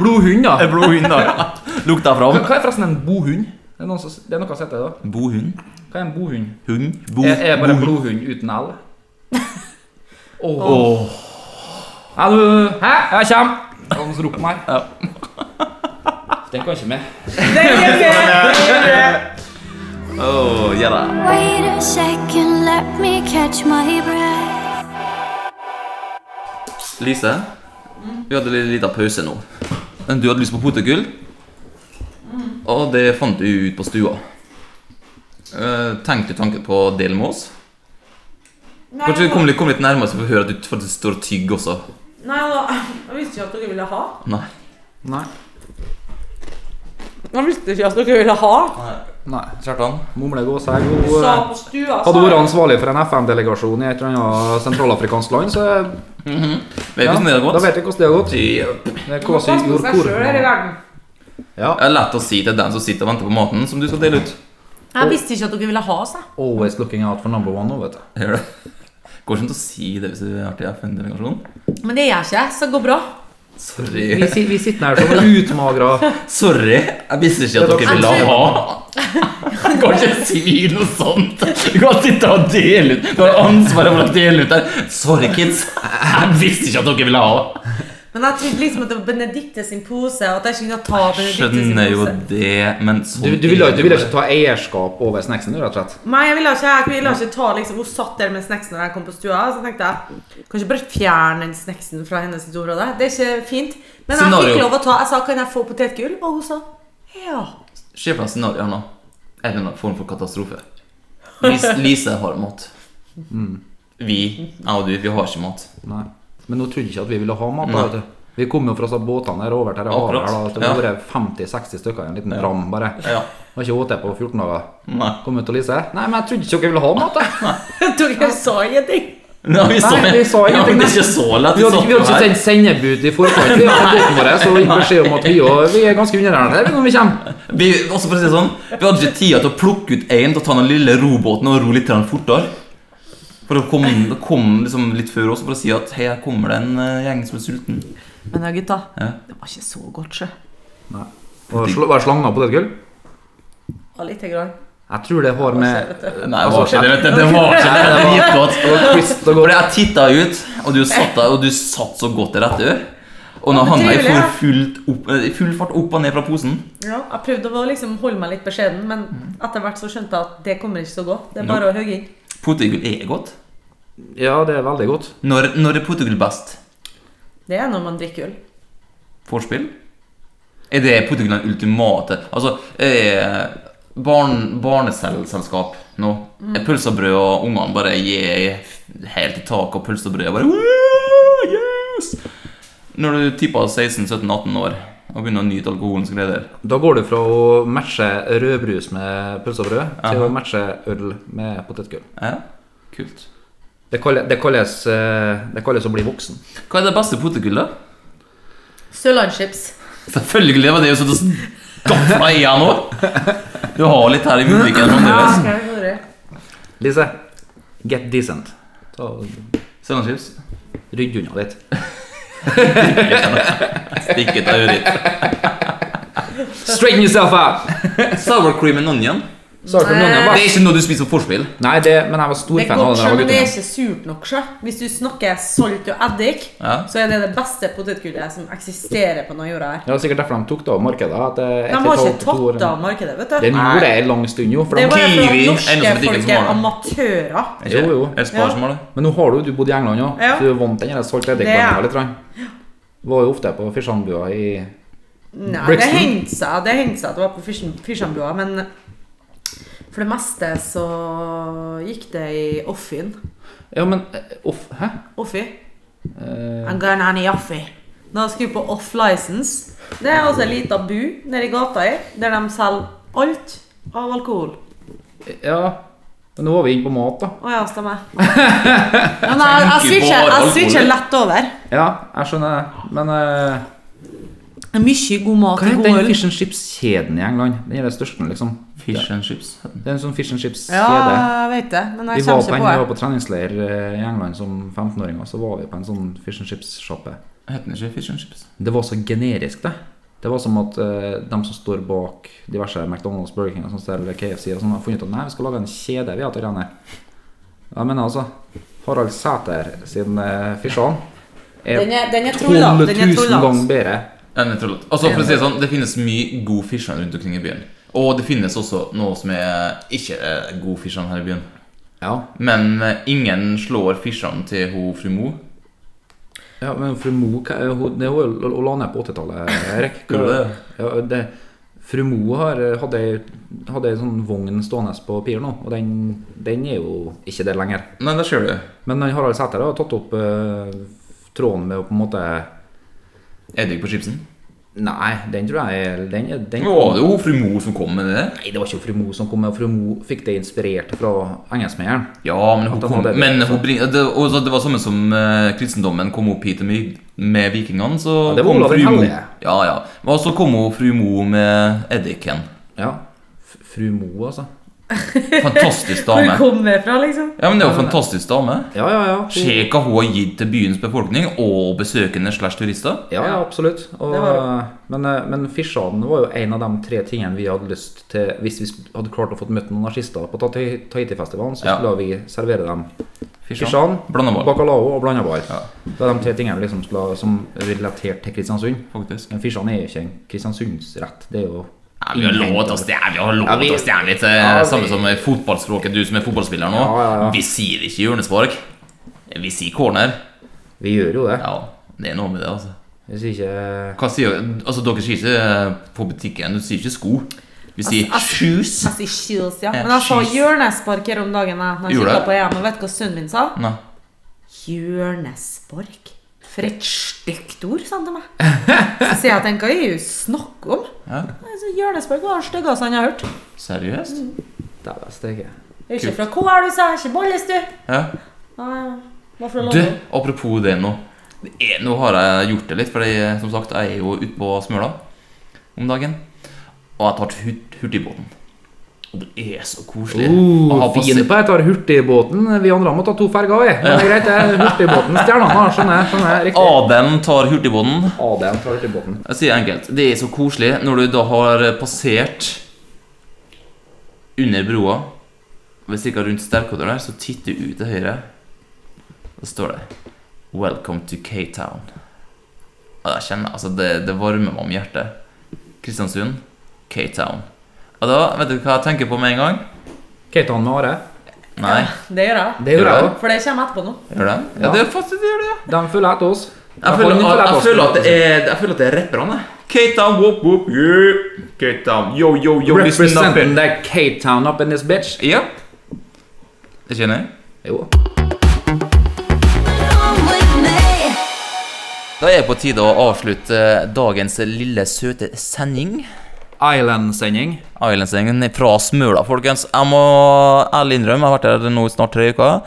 [SPEAKER 4] blod, blodhund,
[SPEAKER 2] *laughs*
[SPEAKER 4] da.
[SPEAKER 2] Blå hund, da. Lukta fram.
[SPEAKER 4] Hva hva er forresten en bohund? Det er, noen som, det er noe som heter det, da.
[SPEAKER 2] Bohund.
[SPEAKER 4] Hva er en bohund?
[SPEAKER 2] Hund. Bo.
[SPEAKER 4] Er, er bare en
[SPEAKER 2] bo-
[SPEAKER 4] blodhund uten L? *laughs* Åh.
[SPEAKER 2] Åh.
[SPEAKER 4] Ja, du, hæ? Jeg kommer! Det var noen som ropte meg. *laughs* Den kan ikke med.
[SPEAKER 2] Åh, ja da.
[SPEAKER 5] Wait a second, let me catch my breath.
[SPEAKER 2] Lise, vi hadde en liten pause nå. Men du hadde lyst på potetgull, og det fant du ut på stua. Eh, tenkte du tanken på å dele med oss? Kanskje du kom litt, kom litt nærmere, så får vi høre at du faktisk står og tygger også.
[SPEAKER 3] Nei da, *laughs* jeg visste ikke at dere ville ha.
[SPEAKER 2] Nei.
[SPEAKER 4] Nei.
[SPEAKER 3] Jeg visste ikke at dere ville ha.
[SPEAKER 4] Nei.
[SPEAKER 2] Kjartan?
[SPEAKER 4] Mumle gåsegg. hun,
[SPEAKER 3] Sa
[SPEAKER 4] eh,
[SPEAKER 3] på stua,
[SPEAKER 4] Hadde vært ansvarlig for en FN-delegasjon i et eller annet sentralafrikansk land, så
[SPEAKER 2] Vet du
[SPEAKER 4] ja,
[SPEAKER 2] hvordan det har
[SPEAKER 4] da
[SPEAKER 2] gått?
[SPEAKER 4] vet jeg hvordan det har gått.
[SPEAKER 2] Yep.
[SPEAKER 4] Det er Kvasi gjorde korona. Ja,
[SPEAKER 2] Det er lett å si til den som sitter og venter på maten som du skal dele ut.
[SPEAKER 3] Jeg visste ikke at dere ville ha, sa jeg.
[SPEAKER 4] always looking out for number one nå, vet du.
[SPEAKER 2] Gjør det. Går ikke an å si det hvis du er til FN-delegasjon.
[SPEAKER 3] Men det gjør ikke jeg, så det går bra.
[SPEAKER 4] Vi,
[SPEAKER 2] Sorry.
[SPEAKER 4] si- vi sitter her som utmagra.
[SPEAKER 2] Sorry. Jeg visste ikke at
[SPEAKER 4] Det er
[SPEAKER 2] dere ville
[SPEAKER 3] dere-
[SPEAKER 2] ha Du kan ikke si noe sånt! Du kan sitte og dele ut Du har ansvaret for å dele ut der. Sorry, kids. Jeg visste ikke at dere ville ha
[SPEAKER 3] Men jeg trodde liksom at det var Benedicte sin pose, og at jeg ikke kunne ta Benedicte sin
[SPEAKER 2] Skjønner jo
[SPEAKER 3] pose.
[SPEAKER 2] det, men sånn
[SPEAKER 4] Du, du ville
[SPEAKER 2] er det
[SPEAKER 4] du ville
[SPEAKER 2] bare.
[SPEAKER 4] ikke ta eierskap over snacksen, du, rett og slett?
[SPEAKER 3] Nei, jeg ville ikke, jeg ville ikke ta liksom, Hun satt der med snacksen når jeg kom på stua, så tenkte jeg Kanskje bare fjerne den snacksen fra hennes sitt område. Det er ikke fint. Men jeg
[SPEAKER 2] Scenario.
[SPEAKER 3] fikk lov å ta. Jeg sa 'Kan jeg få potetgull?' Og hun sa ja. *laughs*
[SPEAKER 2] Se for deg scenarioet nå. En eller annen form for katastrofe. Lis, Lise har mat. Vi, jeg og du, vi har ikke mat.
[SPEAKER 4] Nei. Men nå trodde jeg ikke at vi ville ha mat. da,
[SPEAKER 2] Nei.
[SPEAKER 4] vet du. Vi kom jo fra så båtene her over til det havet.
[SPEAKER 2] Akkurat.
[SPEAKER 4] her, da, at Det var
[SPEAKER 2] Ja.
[SPEAKER 4] bare 50-60 stykker i en liten ram, bare.
[SPEAKER 2] Ja.
[SPEAKER 4] Har ikke åt det på 14 dager.
[SPEAKER 2] Nei.
[SPEAKER 4] Kom ut og Lise. Nei, men jeg trodde ikke dere ville ha
[SPEAKER 2] *laughs*
[SPEAKER 4] mat. da.
[SPEAKER 3] Dere sa ingenting.
[SPEAKER 2] Nei, vi så,
[SPEAKER 4] Nei, vi så
[SPEAKER 2] ja,
[SPEAKER 4] ingenting.
[SPEAKER 2] men det er ikke så lett. sånn
[SPEAKER 4] Vi hadde, vi hadde ikke
[SPEAKER 2] satt
[SPEAKER 4] sendt sendebud i forkant. Vi hadde båten vår, så gikk beskjed om at vi, også, vi er ganske underernærte når vi kommer.
[SPEAKER 2] her. vi, også for å si det sånn, vi hadde ikke tida til å plukke ut én til å ta den lille robåten og ro litt grann fortere. For det kom, det kom liksom litt før oss for å si at hei, her kommer det en eh, gjeng som er sulten.
[SPEAKER 3] Men da, gutta,
[SPEAKER 2] Ja.
[SPEAKER 3] det var ikke så godt, sjø.
[SPEAKER 4] Og sl var det slanger på det gull?
[SPEAKER 3] Ja, lite grann.
[SPEAKER 4] Jeg tror det har med
[SPEAKER 2] Nei, det var ikke Altså, det. vet du. Det var ikke det. Det gikk godt.
[SPEAKER 4] Christ og
[SPEAKER 2] For
[SPEAKER 4] godt.
[SPEAKER 2] jeg titta ut, og du satt, der, og du satt så godt i rett ør. Og når
[SPEAKER 3] Ja,
[SPEAKER 2] han
[SPEAKER 3] det
[SPEAKER 2] er
[SPEAKER 3] gjorde
[SPEAKER 2] for
[SPEAKER 3] jeg.
[SPEAKER 2] fullt opp, eh, full fart opp og ned fra posen
[SPEAKER 3] Ja, jeg prøvde å liksom holde meg litt beskjeden, men
[SPEAKER 4] Mm.
[SPEAKER 3] etter hvert så skjønte jeg at det kommer ikke til å gå. Det er bare å hogge inn.
[SPEAKER 2] Potetgull er godt.
[SPEAKER 4] Ja, det er veldig godt.
[SPEAKER 2] Når, når er potetgull best?
[SPEAKER 3] Det er når man drikker øl.
[SPEAKER 2] Vorspiel? Er det potetgull den ultimate Altså, er barn, barneselskap nå Er pølsebrød og ungene bare gir helt i taket, og pølsebrød er bare «Wow, yes! Når du tipper 16-17-18 år og begynner å nyte alkoholens gleder
[SPEAKER 4] Da går du fra å matche rødbrus med pølse og brød, til å matche øl med potetgull.
[SPEAKER 2] Ja, kult.
[SPEAKER 4] Det, kalle- det, kalles, eh, det kalles å bli voksen.
[SPEAKER 2] Hva er det beste potetgullet?
[SPEAKER 3] Sørlandschips.
[SPEAKER 4] *clears throat*
[SPEAKER 2] Selvfølgelig var det jo sånn å skaffe i han nå. Du har litt her i munnviken.
[SPEAKER 3] Ja,
[SPEAKER 2] fremdeles.
[SPEAKER 3] skal jeg gjøre det.
[SPEAKER 4] Lise, get decent. Ta,
[SPEAKER 2] Sørlandschips.
[SPEAKER 4] rydd unna litt.
[SPEAKER 2] *laughs* Stikk ut av øret ditt.
[SPEAKER 4] Straighten yourself out!
[SPEAKER 2] Sour cream and onion.
[SPEAKER 4] Sorry for noen, jeg
[SPEAKER 2] Det er
[SPEAKER 4] bare-
[SPEAKER 2] ikke noe du spiser på vorspiel.
[SPEAKER 4] Nei, det, men jeg var stor
[SPEAKER 3] Det er
[SPEAKER 4] fan av
[SPEAKER 3] godt,
[SPEAKER 4] det da
[SPEAKER 3] sjø,
[SPEAKER 4] jeg var
[SPEAKER 3] men det er
[SPEAKER 4] gutten.
[SPEAKER 3] ikke surt nok. Sjø. Hvis du snakker salt og eddik,
[SPEAKER 2] Ja.
[SPEAKER 3] så er det det beste potetgullet som eksisterer på denne jorda. her.
[SPEAKER 4] Det var sikkert derfor de tok det over markedet. At eh,
[SPEAKER 3] De
[SPEAKER 4] etter
[SPEAKER 3] har
[SPEAKER 4] et
[SPEAKER 3] ikke
[SPEAKER 4] halvt, to år-
[SPEAKER 3] tatt av markedet, vet
[SPEAKER 4] Den
[SPEAKER 3] du.
[SPEAKER 4] gjorde det en lang stund, jo.
[SPEAKER 3] Det
[SPEAKER 4] For de,
[SPEAKER 3] er bare for
[SPEAKER 2] Kiwi,
[SPEAKER 3] at
[SPEAKER 2] eneste butikken
[SPEAKER 3] norske
[SPEAKER 2] som
[SPEAKER 3] folk er
[SPEAKER 2] har det.
[SPEAKER 3] amatører.
[SPEAKER 2] Ikke?
[SPEAKER 4] Jo, jo.
[SPEAKER 2] Er det sparsmål, det?
[SPEAKER 4] men nå har du, du bodd i England òg,
[SPEAKER 3] Ja.
[SPEAKER 4] så du er vant til den der salt
[SPEAKER 3] Det er jeg.
[SPEAKER 4] eddik-blanda litt. grann. Var jo ofte på Fishandbua i
[SPEAKER 3] Nei,
[SPEAKER 4] Brixton.
[SPEAKER 3] det hendte seg, det hendte seg at det var på Fisjan- Fisjanbua, men for det meste så gikk det i Offien.
[SPEAKER 4] Ja, men eh, off... Hæ?
[SPEAKER 3] Offi.
[SPEAKER 4] Eh,
[SPEAKER 3] I'm going on a Jaffi. Da skal vi på off-license. Det er altså en liten bu nede i gata her, der de selger alt av alkohol.
[SPEAKER 4] ja, men nå var vi inne på mat, da.
[SPEAKER 3] Å ja,
[SPEAKER 4] *laughs*
[SPEAKER 3] stemmer. Men jeg, jeg switcher, jeg switcher lett over.
[SPEAKER 4] Ja, jeg skjønner det. Men eh,
[SPEAKER 3] Det er Mye god mat
[SPEAKER 4] hva
[SPEAKER 3] og
[SPEAKER 4] heter
[SPEAKER 3] god
[SPEAKER 4] den
[SPEAKER 3] øl.
[SPEAKER 4] fish and chips-kjeden i England? Den er den største, liksom.
[SPEAKER 2] Fish and chips. heter den.
[SPEAKER 4] Det er en sånn fish and chips-kjede.
[SPEAKER 3] Ja, jeg vet det, men
[SPEAKER 4] Vi
[SPEAKER 3] jeg
[SPEAKER 4] var, på
[SPEAKER 3] kommer
[SPEAKER 4] en, vi var
[SPEAKER 3] ikke på det.
[SPEAKER 4] på treningsleir eh, i England som 15-åringer, så var vi på en sånn fish and chips-sjappe.
[SPEAKER 2] Heter den ikke fish and chips?
[SPEAKER 4] Det var så generisk, det. Det var som at eh, de som står bak diverse McDonald's, Burger King og sånt der, eller KFC, og sånn, har funnet ut at nei, vi skal lage en kjede vi har til å renne. Jeg mener altså Harald Sæter sin uh, Fisjan er
[SPEAKER 3] Den er, den er
[SPEAKER 4] 12
[SPEAKER 3] trollete. Den er
[SPEAKER 4] 000 ganger
[SPEAKER 3] trollete.
[SPEAKER 4] bedre.
[SPEAKER 2] Den er trollet. Altså, for å si det sånn, det finnes mye god fish and rundt omkring i byen. Og det finnes også noe som er ikke eh, god fish and her i byen.
[SPEAKER 4] Ja.
[SPEAKER 2] Men eh, ingen slår fish and til ho fru Mo.
[SPEAKER 4] ja, men fru Mo hva- hun- det var jo- Hun la ned på 80-tallet, Erik.
[SPEAKER 2] *laughs* Gjorde det?
[SPEAKER 4] Ja, det, fru Mo har, hadde, ei- hadde ei sånn vogn stående på pier nå, og den, den er jo ikke der lenger.
[SPEAKER 2] Nei, der ser du.
[SPEAKER 4] Men han Harald Sæter har tatt opp eh, tråden med å på en måte
[SPEAKER 2] Eddik på chipsen.
[SPEAKER 4] Nei, den tror jeg er- den, er- den,
[SPEAKER 2] Å, det er jo fru Mo som kom med det.
[SPEAKER 4] Nei, det var ikke fru Mo som kom med, fru Mo fikk det inspirert fra engelskmeieren.
[SPEAKER 2] Ja, men, hun
[SPEAKER 4] At han
[SPEAKER 2] kom,
[SPEAKER 4] hadde-
[SPEAKER 2] men hun bring, det, og så det var samme som eh, kristendommen kom opp hit med, med vikingene. Så
[SPEAKER 4] det var
[SPEAKER 2] kom
[SPEAKER 4] Olav den
[SPEAKER 2] fru Mo.
[SPEAKER 4] hellige.
[SPEAKER 2] Ja, ja. Og så kom hun fru Mo med eddiken.
[SPEAKER 4] Ja. F- Fru Mo, altså. *laughs*
[SPEAKER 2] Fantastisk
[SPEAKER 3] Hvor
[SPEAKER 2] dame.
[SPEAKER 3] kom det fra, liksom?
[SPEAKER 2] Ja, men Det er jo en fantastisk dame.
[SPEAKER 4] Ja, ja, ja. Hun-
[SPEAKER 2] Se hva hun har gitt til byens befolkning og besøkende slash turister.
[SPEAKER 4] Ja, ja, absolutt. Og,
[SPEAKER 3] Det var
[SPEAKER 4] men eh, men Fisjan var jo en av de tre tingene vi hadde lyst til Hvis vi sk- hadde klart å få møtt noen nazister på Tahiti- Tahiti-festivalen, så
[SPEAKER 2] Ja.
[SPEAKER 4] skulle vi servere dem Kristian,
[SPEAKER 2] Blandabar.
[SPEAKER 4] Bacalao og Blandabar. Det er de tre tingene vi liksom skulle, ha- som er relatert til Kristiansund.
[SPEAKER 2] Faktisk.
[SPEAKER 4] Men Kristian er jo ikke en Kristiansundsrett. Det er jo
[SPEAKER 2] Ja, vi har lov til å stjerne, vi har lov
[SPEAKER 4] Ja, vi-
[SPEAKER 2] til å stjerne litt. eh,
[SPEAKER 4] Ja, vi-
[SPEAKER 2] Samme som i fotballspråket, du som er fotballspiller nå.
[SPEAKER 4] Ja, ja, ja.
[SPEAKER 2] Vi sier ikke hjørnespark. Vi sier corner.
[SPEAKER 4] Vi gjør jo det.
[SPEAKER 2] Ja, det er noe med det, altså.
[SPEAKER 4] Hvis ikke
[SPEAKER 2] Hva sier Altså, dere sier ikke eh, på butikken, du sier ikke sko. Vi sier shoes.
[SPEAKER 3] Jeg sier shoes, ja.
[SPEAKER 2] Ja,
[SPEAKER 3] Men jeg sa
[SPEAKER 2] shoes.
[SPEAKER 3] hjørnespark her om dagen. Jeg, når jeg
[SPEAKER 2] Gjorde
[SPEAKER 3] kikket
[SPEAKER 2] det?
[SPEAKER 3] på EM, og vet du hva sønnen min sa?
[SPEAKER 2] Nei.
[SPEAKER 3] Hjørnespark? For et stygt ord, sa han
[SPEAKER 4] *laughs*
[SPEAKER 3] til meg. Så sier jeg at hva er det du snakker om?
[SPEAKER 2] Ja.
[SPEAKER 3] Nei, så Hjørnespark var det styggeste han har hørt.
[SPEAKER 2] Seriøst?
[SPEAKER 4] Dæven steike.
[SPEAKER 3] Det er ikke fra KR, du sa. Ikke Bollestø.
[SPEAKER 2] Ja.
[SPEAKER 3] Nei, var
[SPEAKER 2] Du,
[SPEAKER 3] fra London.
[SPEAKER 2] apropos det nå. Det er, nå har jeg gjort det litt, for jeg, som sagt, jeg er jo ute på Smøla om dagen. Og jeg tar hurt, hurtigbåten. Og det er så koselig. å Uh, ha
[SPEAKER 4] Oh,
[SPEAKER 2] på
[SPEAKER 4] fin
[SPEAKER 2] se-
[SPEAKER 4] på jeg tar hurtigbåten. Vi andre må ta to ferger, vi. Men det er greit, det er hurtigbåten. Stjernene har skjønner jeg, skjønner jeg. Riktig.
[SPEAKER 2] Aden tar hurtigbåten.
[SPEAKER 4] ADM tar hurtigbåten.
[SPEAKER 2] Jeg sier enkelt. Det er så koselig når du da har passert under broa, ved cirka rundt Sterkodder der, så titter du ut til høyre. Da står det 'Welcome to K-Town'. Og jeg kjenner, altså det, det varmer meg om hjertet. Kristiansund, K-Town. Og da, vet du hva jeg tenker på med en gang?
[SPEAKER 4] Keitan med Are.
[SPEAKER 2] Nei,
[SPEAKER 3] Det gjør jeg.
[SPEAKER 4] Det gjør jeg òg.
[SPEAKER 3] For det kommer etterpå nå.
[SPEAKER 2] gjør det? Ja, det er faktisk det gjør det, ja.
[SPEAKER 4] De følger etter oss.
[SPEAKER 2] Jeg føler, at, jeg, føler at det er, jeg føler at det er rapperne. K-Town, whoop, whoop, yeah. K-Town, yo, yo, yo, listen up.
[SPEAKER 4] Representing the K-town up in this bitch.
[SPEAKER 2] Ja. Det kjenner jeg.
[SPEAKER 4] Jo.
[SPEAKER 5] Come with me.
[SPEAKER 2] Da er det på tide å avslutte eh, dagens lille søte sending.
[SPEAKER 4] Island-sending.
[SPEAKER 2] Islandsgjengen fra Smøla, folkens. Jeg må ærlig innrømme, jeg har vært her nå i snart tre uker.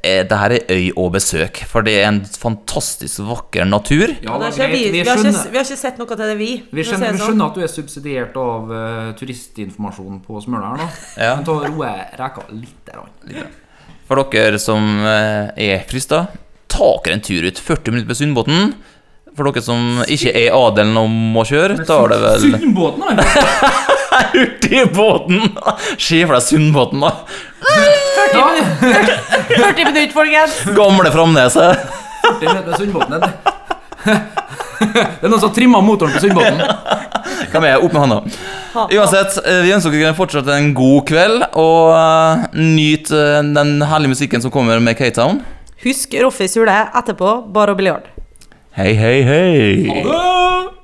[SPEAKER 2] Eh, Dette er øy og besøk, for det er en fantastisk vakker natur.
[SPEAKER 4] Ja,
[SPEAKER 3] det er
[SPEAKER 4] det er
[SPEAKER 3] ikke vi,
[SPEAKER 4] greit.
[SPEAKER 3] vi,
[SPEAKER 4] Vi
[SPEAKER 3] har ikke,
[SPEAKER 4] skjønner,
[SPEAKER 3] vi har ikke sett noe til det, vi.
[SPEAKER 4] vi
[SPEAKER 3] for å si det
[SPEAKER 4] skjønner, vi
[SPEAKER 3] sånn. *laughs*
[SPEAKER 4] skjønner at du er subsidiert av eh, turistinformasjon på Smøla her nå.
[SPEAKER 2] Ja.
[SPEAKER 4] Men ta og roe reka litt. Der,
[SPEAKER 2] For dere som eh, er frista, ta dere en tur ut 40 minutter på Sundbotn. For dere som ikke er adelen om å kjøre, tar det vel
[SPEAKER 4] Sundbåten, han!
[SPEAKER 2] Hurtigbåten! Se for deg Sundbåten, da.
[SPEAKER 3] 40 minutter, folkens!
[SPEAKER 2] Gamle Framneset.
[SPEAKER 4] Det heter Sundbåten. Det *laughs* Det er noen som har trimma motoren på Sundbåten.
[SPEAKER 2] Hvem er jeg? Opp med hånda. Uansett, eh, vi ønsker dere fortsatt en god kveld, og eh, nyt eh, den herlige musikken som kommer med K-Town.
[SPEAKER 3] Husk Roffis hule etterpå, bar og biljard.
[SPEAKER 2] Hei, hei, hei.
[SPEAKER 4] Ha det!